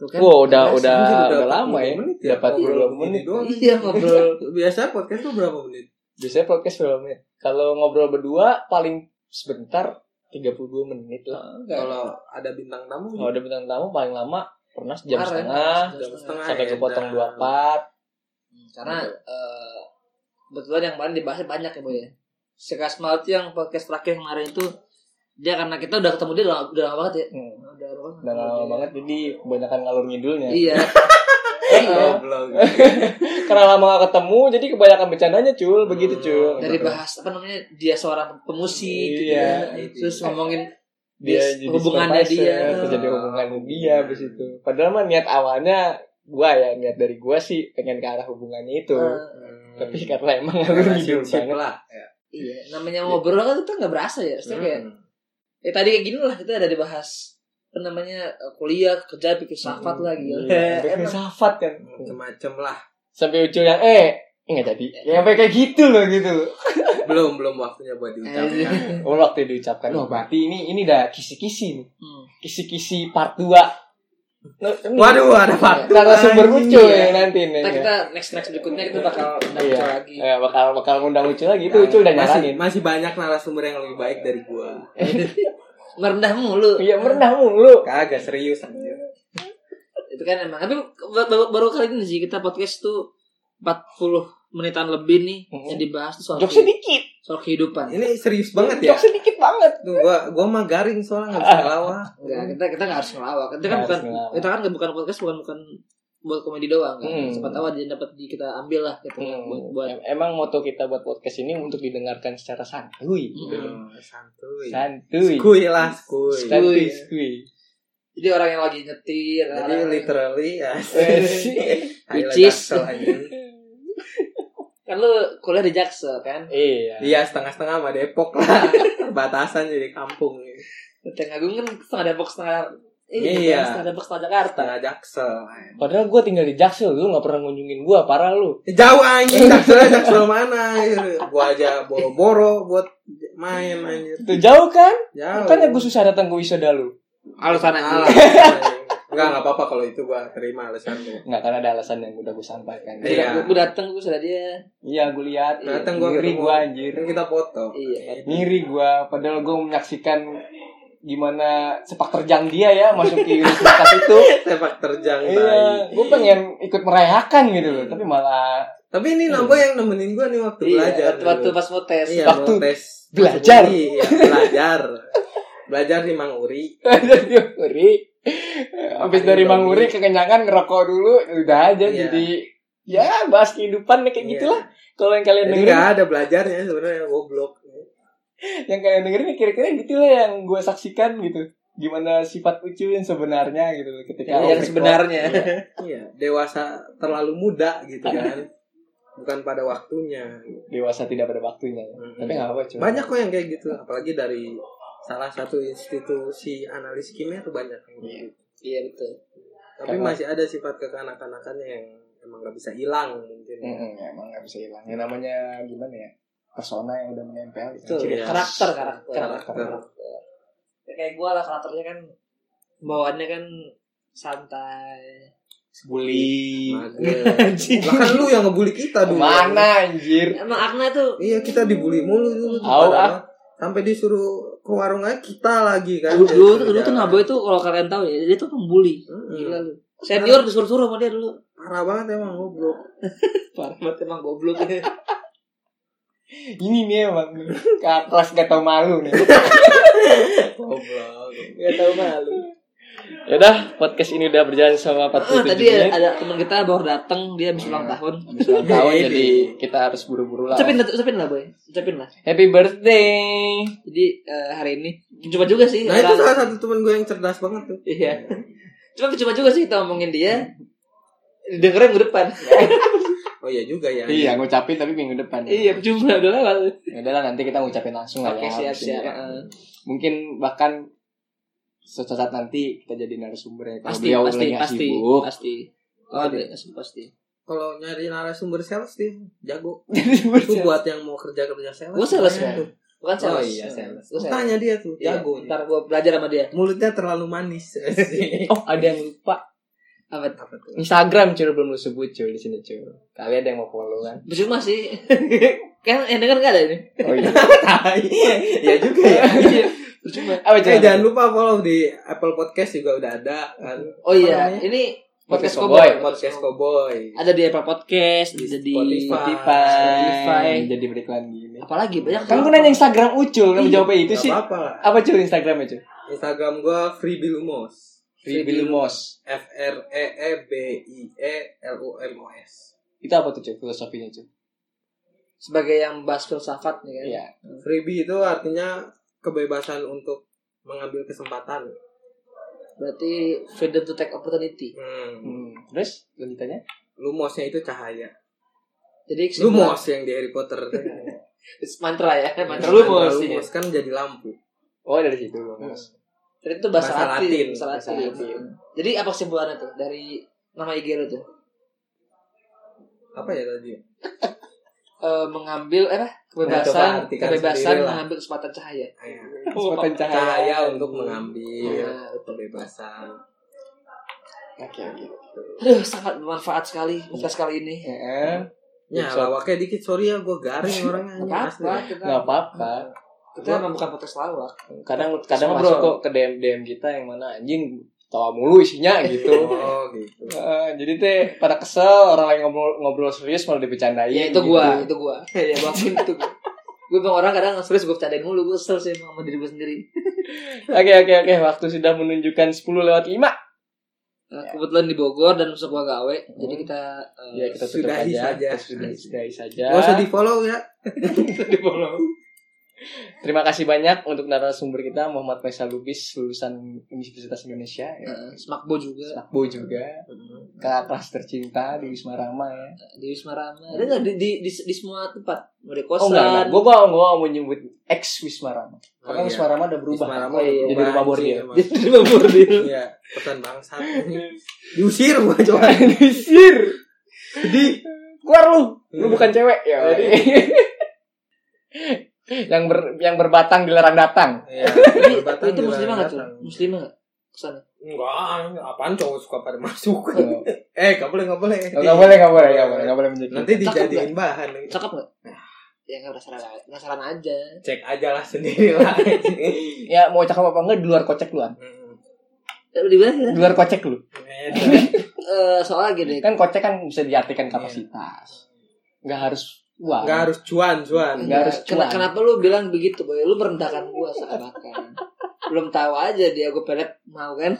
[SPEAKER 1] Tuh kan?
[SPEAKER 2] Wah, udah
[SPEAKER 1] Nggak
[SPEAKER 2] udah
[SPEAKER 1] berasa.
[SPEAKER 3] Mungkin
[SPEAKER 2] udah
[SPEAKER 3] udah
[SPEAKER 2] lama ya.
[SPEAKER 3] 40 menit ya,
[SPEAKER 2] Udah 40
[SPEAKER 3] 40
[SPEAKER 2] menit.
[SPEAKER 3] menit doang.
[SPEAKER 1] Iya
[SPEAKER 2] <laughs>
[SPEAKER 1] ngobrol.
[SPEAKER 3] biasa podcast tuh berapa menit
[SPEAKER 2] Biasanya podcast berapa menit? Kalau ngobrol berdua paling sebentar 32 menit lah.
[SPEAKER 3] kalau ada bintang tamu
[SPEAKER 2] Kalau ada bintang tamu paling lama pernah jam
[SPEAKER 1] Kemarin,
[SPEAKER 2] setengah
[SPEAKER 1] jam setengah.
[SPEAKER 2] sampai kepotong
[SPEAKER 3] edan.
[SPEAKER 2] dua part.
[SPEAKER 1] Hmm, Karena
[SPEAKER 2] Iya.
[SPEAKER 1] eh, kebetulan yang kemarin dibahasnya banyak ya boy ya. Sekas malam itu yang podcast terakhir yang kemarin itu dia karena kita udah ketemu dia udah, udah lama banget ya.
[SPEAKER 2] Hmm.
[SPEAKER 1] Udah lama banget.
[SPEAKER 2] Dan lama banget <laughs> jadi kebanyakan ngalur ngidulnya.
[SPEAKER 1] Iya. Eh.
[SPEAKER 2] Iya.
[SPEAKER 3] Goblok.
[SPEAKER 2] Karena lama gak ketemu jadi kebanyakan bercandanya cul, begitu cul.
[SPEAKER 1] Iya. dari bahas apa namanya dia seorang pemusik gitu
[SPEAKER 2] Iya,
[SPEAKER 1] ya.
[SPEAKER 3] itu.
[SPEAKER 1] terus ngomongin
[SPEAKER 2] dia
[SPEAKER 1] bis-
[SPEAKER 2] jadi
[SPEAKER 1] hubungannya
[SPEAKER 2] supervisor,
[SPEAKER 1] dia.
[SPEAKER 2] terus jadi hubungannya dia abis itu. Padahal mah niat awalnya gua ya niat dari gua sih pengen ke arah hubungannya itu.
[SPEAKER 1] eh,
[SPEAKER 2] Tapi karena emang ngalur ngidul
[SPEAKER 3] Hmm. Relationship
[SPEAKER 2] banget.
[SPEAKER 3] lah. Ya.
[SPEAKER 1] iya namanya ngobrol kan kita nggak berasa ya Maksudnya kayak
[SPEAKER 3] Hmm.
[SPEAKER 1] eh, tadi kayak gini lah kita ada dibahas apa namanya eh, kuliah kerja pikir filsafat lah gitu
[SPEAKER 2] Iya,
[SPEAKER 1] <laughs>
[SPEAKER 2] sampai
[SPEAKER 1] Emang.
[SPEAKER 2] filsafat kan.
[SPEAKER 3] Macem-macem lah.
[SPEAKER 2] Sampai ucul yang eh enggak jadi. Ya sampai kayak gitu loh gitu loh.
[SPEAKER 3] Belum belum waktunya
[SPEAKER 1] Eh,
[SPEAKER 3] buat diucapkan. <laughs>
[SPEAKER 2] Oh, waktu diucapkan, oh berarti ini ini dah kisi-kisi nih.
[SPEAKER 1] hmm.
[SPEAKER 2] Kisi-kisi part 2.
[SPEAKER 3] Waduh, ada part dua
[SPEAKER 2] Karena sumber
[SPEAKER 3] lagi.
[SPEAKER 2] ucul ya nanti nih.
[SPEAKER 1] nah
[SPEAKER 2] ya.
[SPEAKER 1] kita next next berikutnya kita bakal nambah
[SPEAKER 2] Iya.
[SPEAKER 1] lagi
[SPEAKER 2] Eh, bakal bakal ngundang ucul lagi
[SPEAKER 3] Nah,
[SPEAKER 2] itu ucul udah
[SPEAKER 3] masih,
[SPEAKER 2] nyaranin.
[SPEAKER 3] masih banyak narasumber yang lebih baik dari gua.
[SPEAKER 1] merendah mulu
[SPEAKER 2] Iya merendah mulu.
[SPEAKER 3] Kagak serius anjir.
[SPEAKER 1] itu kan emang tapi baru, baru kali ini sih kita podcast tuh 40 menitan lebih nih
[SPEAKER 2] Mhm.
[SPEAKER 1] yang dibahas tuh soal
[SPEAKER 2] Jok
[SPEAKER 1] kehidupan,
[SPEAKER 2] sedikit,
[SPEAKER 1] soal kehidupan.
[SPEAKER 3] Ini serius banget ya.
[SPEAKER 2] jok sedikit banget.
[SPEAKER 3] Tuh, gua gua mah garing soalnya enggak bisa ngelawak.
[SPEAKER 1] Enggak, kita kita nggak harus ngelawak. Kita kan
[SPEAKER 2] Nggak
[SPEAKER 1] bukan
[SPEAKER 2] harus ngelawak.
[SPEAKER 1] kita kan nggak- bukan podcast bukan bukan buat komedi doang kan.
[SPEAKER 2] Hmm.
[SPEAKER 1] Siapa tahu ada yang dapat di kita ambil lah gitu ya,
[SPEAKER 3] Hmm,
[SPEAKER 2] Mm-hmm.
[SPEAKER 1] buat buat
[SPEAKER 2] Em- Emang moto kita buat podcast ini untuk didengarkan secara santuy. gitu
[SPEAKER 1] Mm-hmm.
[SPEAKER 2] loh.
[SPEAKER 3] Hmm, santuy.
[SPEAKER 2] Santuy.
[SPEAKER 3] Skuy lah, skuy.
[SPEAKER 2] Santuy, skuy.
[SPEAKER 1] jadi orang yang lagi nyetir,
[SPEAKER 3] Jadi
[SPEAKER 1] orang-
[SPEAKER 3] literally ya.
[SPEAKER 1] Which
[SPEAKER 3] <laughs> Which
[SPEAKER 1] is-
[SPEAKER 3] is
[SPEAKER 1] kan lu kuliah di Jaksel kan,
[SPEAKER 2] Iya.
[SPEAKER 3] Iya setengah-setengah sama Depok lah Perbatasan jadi kampung
[SPEAKER 1] Tengah Agung kan setengah Depok setengah eh,
[SPEAKER 3] Iya.
[SPEAKER 1] setengah Depok setengah Jakarta.
[SPEAKER 3] Setengah ya. Jaksel
[SPEAKER 2] Padahal gue tinggal di Jaksel, lu gak pernah ngunjungin gue, parah lu.
[SPEAKER 3] Ya, Jauh anjing Jaksel Jaksel mana gitu. Gua aja boro-boro buat main anjir
[SPEAKER 2] Itu jauh kan?
[SPEAKER 3] Jauh
[SPEAKER 2] Makanya gue susah datang ke wisuda lu.
[SPEAKER 1] Alasan
[SPEAKER 3] Alah,
[SPEAKER 1] aja.
[SPEAKER 3] Enggak enggak apa-apa kalau itu gua terima alasan lu
[SPEAKER 2] Nggak, karena ada alasan yang udah gue sampaikan.
[SPEAKER 1] Gue
[SPEAKER 3] Iya.
[SPEAKER 1] gue dateng gue sudah dia.
[SPEAKER 2] Iya, gue lihat.
[SPEAKER 3] Datang
[SPEAKER 2] Iya,
[SPEAKER 3] gua
[SPEAKER 2] ngiri
[SPEAKER 3] ketemu.
[SPEAKER 2] gue anjir.
[SPEAKER 3] Kan kita foto
[SPEAKER 1] Iya.
[SPEAKER 2] Ngiri gue, padahal gue menyaksikan gimana sepak terjang dia ya masuki universitas
[SPEAKER 3] <laughs>
[SPEAKER 2] itu.
[SPEAKER 3] Sepak terjang
[SPEAKER 2] Iya,
[SPEAKER 3] bayi
[SPEAKER 2] gue pengen ikut merayakan gitu loh, tapi malah <laughs>
[SPEAKER 3] Tapi ini nambah yang nemenin gua nih waktu belajar
[SPEAKER 1] Iya, waktu, waktu
[SPEAKER 3] dulu.
[SPEAKER 1] pas mau tes.
[SPEAKER 3] Iya,
[SPEAKER 2] waktu
[SPEAKER 3] mau tes
[SPEAKER 2] belajar.
[SPEAKER 3] Iya, belajar Belajar di Manguri
[SPEAKER 2] jadi Uri. Habis dari Mang Uri kekenyangan ngerokok dulu, udah aja
[SPEAKER 3] Iya.
[SPEAKER 2] jadi ya bahas kehidupan kayak gitulah. Kalau yang kalian
[SPEAKER 3] Jadi
[SPEAKER 2] dengerin,
[SPEAKER 3] nggak Iya. ada belajarnya sebenarnya goblok.
[SPEAKER 2] yang kalian dengerin kira-kira gitulah yang gue saksikan gitu. Gimana sifat lucu yang sebenarnya gitu loh ketika
[SPEAKER 1] Ya, Yang
[SPEAKER 2] open
[SPEAKER 1] sebenarnya.
[SPEAKER 2] call. Iya.
[SPEAKER 3] Iya, dewasa terlalu muda gitu kan. Bukan pada waktunya. gitu.
[SPEAKER 2] dewasa tidak pada waktunya. Tapi nggak apa-apa cuma
[SPEAKER 3] Banyak kok yang kayak gitu, apalagi dari salah satu institusi analis kimia tuh banyak yang kayak gitu.
[SPEAKER 1] Iya betul.
[SPEAKER 3] Tapi
[SPEAKER 2] Karena-
[SPEAKER 3] masih ada sifat kekanak-kanakannya yang emang nggak bisa hilang
[SPEAKER 1] gitu ya.
[SPEAKER 3] mungkin.
[SPEAKER 2] Mm-mm, emang nggak bisa hilang. Yang namanya gimana ya? Persona yang udah menempel.
[SPEAKER 1] Betul. ya.
[SPEAKER 2] Ciri khas.
[SPEAKER 1] Karakter karakter.
[SPEAKER 3] Karakter.
[SPEAKER 1] karakter. Ya, kayak gue lah karakternya kan bawaannya kan santai.
[SPEAKER 2] Bully.
[SPEAKER 3] Mager. Lah kan lu yang ngebully kita dulu.
[SPEAKER 2] Mana anjir?
[SPEAKER 1] Emang Agna tuh
[SPEAKER 3] Iya, kita dibully mulu dulu tuh
[SPEAKER 2] Au,
[SPEAKER 3] padahal. Sampai disuruh ke warung aja kita lagi kan.
[SPEAKER 1] dulu dulu, dulu tuh
[SPEAKER 3] Jalan.
[SPEAKER 1] Naboy tuh kalau kalian tahu ya dia tuh pembuli.
[SPEAKER 3] Mm-mm.
[SPEAKER 1] Hmm. Gila lu. Senior disuruh-suruh sama dia dulu.
[SPEAKER 3] Parah banget emang goblok.
[SPEAKER 1] <laughs> Parah banget emang goblok.
[SPEAKER 2] Ini nih emang ke atas gak tau malu nih.
[SPEAKER 3] Goblok.
[SPEAKER 2] Gak tau malu. <laughs> Yaudah, podcast ini udah berjalan sama 47
[SPEAKER 1] Ah, tadi
[SPEAKER 2] menit.
[SPEAKER 1] ada teman kita baru datang dia habis ulang
[SPEAKER 2] Iya.
[SPEAKER 1] tahun.
[SPEAKER 2] Habis ulang tahun jadi kita harus buru-buru lah.
[SPEAKER 1] Ucapin lah, ucapin lah boy, ucapin lah.
[SPEAKER 2] Happy birthday.
[SPEAKER 1] Jadi eh, hari ini cuma juga sih.
[SPEAKER 3] Nah itu
[SPEAKER 1] orang-
[SPEAKER 3] salah satu temen gue yang cerdas banget tuh.
[SPEAKER 1] Iya. Cuma cuma juga sih kita ngomongin dia. Dengerin ke depan.
[SPEAKER 3] Oh iya juga ya.
[SPEAKER 2] Iya, ngucapin tapi minggu depan.
[SPEAKER 1] iya, cuma udah lewat.
[SPEAKER 2] Ya udah lah nanti kita ngucapin langsung lah
[SPEAKER 1] Oke, siap,
[SPEAKER 2] ya, habis ini
[SPEAKER 1] siap.
[SPEAKER 2] ya.
[SPEAKER 1] Heeh.
[SPEAKER 2] Mungkin bahkan suatu saat nanti kita jadi narasumber ya kalau
[SPEAKER 1] Pasti,
[SPEAKER 2] beliau
[SPEAKER 1] pasti,
[SPEAKER 2] lagi nggak
[SPEAKER 1] pasti,
[SPEAKER 2] sibuk.
[SPEAKER 1] pasti. Oh, dia nggak sibuk, pasti.
[SPEAKER 3] Kalau nyari narasumber sales dia jago.
[SPEAKER 2] Narasumber
[SPEAKER 3] Itu buat yang mau kerja kerja sales.
[SPEAKER 1] Gua sales,
[SPEAKER 3] Tanya
[SPEAKER 1] kan?
[SPEAKER 3] tuh.
[SPEAKER 1] Bukan sales.
[SPEAKER 2] Oh iya, sales.
[SPEAKER 1] Gua sales.
[SPEAKER 3] Tanya dia tuh,
[SPEAKER 1] Iya,
[SPEAKER 3] jago.
[SPEAKER 1] ntar gua belajar sama dia.
[SPEAKER 3] Mulutnya terlalu <laughs> manis.
[SPEAKER 2] <laughs> Oh, ada yang lupa.
[SPEAKER 1] Apa? tuh?
[SPEAKER 3] Apa tuh?
[SPEAKER 2] Instagram cuy belum lu sebut cuy di sini cuy. Kalian ada yang mau follow kan?
[SPEAKER 1] Percuma sih. <laughs> kan yang denger nggak ada ini.
[SPEAKER 2] Oh iya.
[SPEAKER 3] Tai. Iya juga ya.
[SPEAKER 1] Iya, <laughs> Percuma.
[SPEAKER 2] <laughs> Apa
[SPEAKER 3] Eh, jangan lupa follow di Apple Podcast juga udah ada kan.
[SPEAKER 1] Oh
[SPEAKER 3] Apa
[SPEAKER 1] iya,
[SPEAKER 3] namanya?
[SPEAKER 1] ini
[SPEAKER 2] Podcast
[SPEAKER 1] podcast
[SPEAKER 2] Cowboy.
[SPEAKER 1] Cowboy.
[SPEAKER 3] Podcast Cowboy.
[SPEAKER 1] Ada di Apple Podcast,
[SPEAKER 3] Di
[SPEAKER 1] bisa di
[SPEAKER 3] Spotify.
[SPEAKER 1] Spotify.
[SPEAKER 2] Spotify. Jadi beriklan gini.
[SPEAKER 1] Apalagi banyak.
[SPEAKER 2] Kan gue nanya Instagram Ucul, kamu
[SPEAKER 3] Iya,
[SPEAKER 2] jawabnya itu
[SPEAKER 3] Gak
[SPEAKER 2] sih.
[SPEAKER 3] apa-apa lah.
[SPEAKER 2] Apa cuy Instagramnya cuy?
[SPEAKER 3] Instagram gua freebilumos.
[SPEAKER 2] Ribilumos.
[SPEAKER 3] F R E E B I E L U M O S.
[SPEAKER 2] Itu apa tuh cuy filosofinya cuy?
[SPEAKER 1] sebagai yang bahas filsafat nih kan.
[SPEAKER 2] Iya.
[SPEAKER 3] Freebie itu artinya kebebasan untuk mengambil kesempatan.
[SPEAKER 1] Berarti freedom to take opportunity.
[SPEAKER 3] Hmm.
[SPEAKER 2] Hmm. Terus lanjutannya?
[SPEAKER 3] Lumosnya itu cahaya.
[SPEAKER 1] Jadi kesimpulan-
[SPEAKER 3] Lumos yang di Harry Potter.
[SPEAKER 2] <laughs> Iya.
[SPEAKER 1] mantra ya, <laughs> mantra lumos. iya.
[SPEAKER 3] Lumos kan jadi lampu.
[SPEAKER 2] Oh dari situ lumos.
[SPEAKER 1] Jadi itu bahasa,
[SPEAKER 3] Bahasa
[SPEAKER 1] Latin,
[SPEAKER 3] Latin,
[SPEAKER 1] bahasa
[SPEAKER 2] bahasa
[SPEAKER 1] Latin.
[SPEAKER 2] Latin.
[SPEAKER 1] Jadi apa kesimpulannya tuh dari nama IG lu tuh?
[SPEAKER 3] Apa ya tadi?
[SPEAKER 1] Eh, mengambil eh, apa?
[SPEAKER 3] coba
[SPEAKER 1] kebebasan
[SPEAKER 3] artikan
[SPEAKER 1] kebebasan
[SPEAKER 3] sendiri lah.
[SPEAKER 1] mengambil kesempatan cahaya.
[SPEAKER 3] Cahaya.
[SPEAKER 2] Kesempatan
[SPEAKER 3] Cahaya untuk
[SPEAKER 2] Hmm.
[SPEAKER 3] mengambil
[SPEAKER 2] Iya.
[SPEAKER 1] Nah,
[SPEAKER 3] kebebasan.
[SPEAKER 2] Oke oke. Iya,
[SPEAKER 1] aduh sangat bermanfaat sekali podcast kali ini.
[SPEAKER 2] Heeh.
[SPEAKER 3] Ya, lawaknya dikit sorry ya, gue garing orangnya.
[SPEAKER 1] Gak
[SPEAKER 3] asli.
[SPEAKER 1] apa-apa kita
[SPEAKER 2] Gak apa-apa.
[SPEAKER 1] kita emang bukan podcast lawak.
[SPEAKER 2] Kadang kadang
[SPEAKER 1] Ngobrol.
[SPEAKER 2] masuk kok ke DM DM kita yang mana anjing tawa mulu isinya <laughs> gitu.
[SPEAKER 3] Oh gitu.
[SPEAKER 2] Heeh, jadi teh pada kesel orang lain ngobrol ngobrol serius malah dibecandain.
[SPEAKER 1] Ya itu
[SPEAKER 2] gitu.
[SPEAKER 1] gua, itu gua. Ya gua akuin itu gua. Gue bang orang kadang serius gue bercandain mulu, gue kesel sih emang sama diri gue sendiri.
[SPEAKER 2] Oke oke oke, waktu sudah menunjukkan 10 lewat 5.
[SPEAKER 1] Nah, kebetulan di Bogor dan besok gua gawe, jadi kita eh,
[SPEAKER 2] Ya kita tutup
[SPEAKER 3] Sudahi
[SPEAKER 2] aja.
[SPEAKER 3] saja.
[SPEAKER 2] Kita Sudahi, sudahi saja.
[SPEAKER 3] Gak usah di follow ya.
[SPEAKER 2] Terima kasih banyak untuk narasumber kita Muhammad Faisal Lubis lulusan Universitas Indonesia. Ya.
[SPEAKER 1] eh, Smakbo juga
[SPEAKER 2] Akbo juga kakak kelas tercinta di Wisma Rama ya.
[SPEAKER 1] di Wisma Rama. Ada nggak di, di, di, di semua tempat? Mau di
[SPEAKER 2] Oh
[SPEAKER 1] kosan?
[SPEAKER 2] enggak, enggak. Gue gua gua mau nyebut ex Wisma Rama.
[SPEAKER 3] Oh,
[SPEAKER 2] Karena
[SPEAKER 3] iya.
[SPEAKER 2] Wisma Rama udah berubah.
[SPEAKER 3] Wisma Rama
[SPEAKER 1] Oh, iya.
[SPEAKER 2] Jadi rumah
[SPEAKER 3] Anjing,
[SPEAKER 2] bordil.
[SPEAKER 3] emang.
[SPEAKER 1] Jadi di Bogor.
[SPEAKER 3] Iya, pesan bangsat. Diusir gua coba.
[SPEAKER 2] Disir. Di keluar lu. Lu bukan cewek ya.
[SPEAKER 3] Iya. Jadi-
[SPEAKER 2] <laughs> yang ber, yang berbatang dilarang datang.
[SPEAKER 3] Iya.
[SPEAKER 1] Tapi
[SPEAKER 3] Jembatan
[SPEAKER 1] itu muslim
[SPEAKER 3] juga
[SPEAKER 1] banget tuh.
[SPEAKER 3] datang.
[SPEAKER 1] Muslim banget. Kesana.
[SPEAKER 3] Enggak, apaan cowok suka pada masuk.
[SPEAKER 2] Oh,
[SPEAKER 3] eh, enggak boleh, enggak boleh.
[SPEAKER 2] Enggak boleh, enggak boleh, enggak boleh, enggak boleh menjadi.
[SPEAKER 3] Nanti
[SPEAKER 1] Cakep
[SPEAKER 3] dijadiin bahan.
[SPEAKER 1] Cakep nggak?
[SPEAKER 2] Nah.
[SPEAKER 1] Ya nggak penasaran, aja. penasaran aja.
[SPEAKER 3] Cek aja lah sendiri lah. <laughs>
[SPEAKER 2] Ya mau cakap apa enggak di luar kocek lu. An.
[SPEAKER 3] Hmm.
[SPEAKER 1] Eh, Di mana?
[SPEAKER 2] Di luar kocek lu.
[SPEAKER 1] Eh, soalnya gini,
[SPEAKER 2] Kan kocek kan bisa diartikan kapasitas. Enggak harus uang.
[SPEAKER 3] Enggak Iya. harus cuan, cuan.
[SPEAKER 2] Nggak harus
[SPEAKER 1] Nah, Kena-
[SPEAKER 2] cuan.
[SPEAKER 1] kenapa lu bilang begitu, Boy? Lu merendahkan gua seakan-akan. Belum tahu aja dia gue pelet mau kan?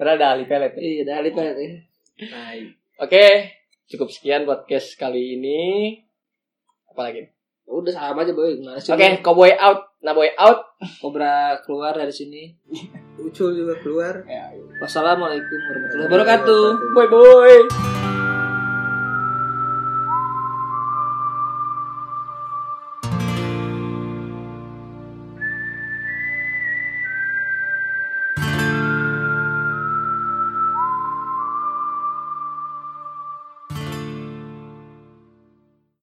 [SPEAKER 2] Padahal ada ahli pelet. ya.
[SPEAKER 1] iya, dah pelet ya.
[SPEAKER 3] Tai.
[SPEAKER 2] Oke, cukup sekian podcast kali ini. Apalagi.
[SPEAKER 1] Ya Udah salam aja, Boy. Gimana sih?
[SPEAKER 2] Oke, cowboy out, naboy out.
[SPEAKER 1] lu? Kobra keluar dari sini.
[SPEAKER 3] Ucul juga keluar.
[SPEAKER 1] Wassalamualaikum warahmatullahi wabarakatuh.
[SPEAKER 2] Boy boy.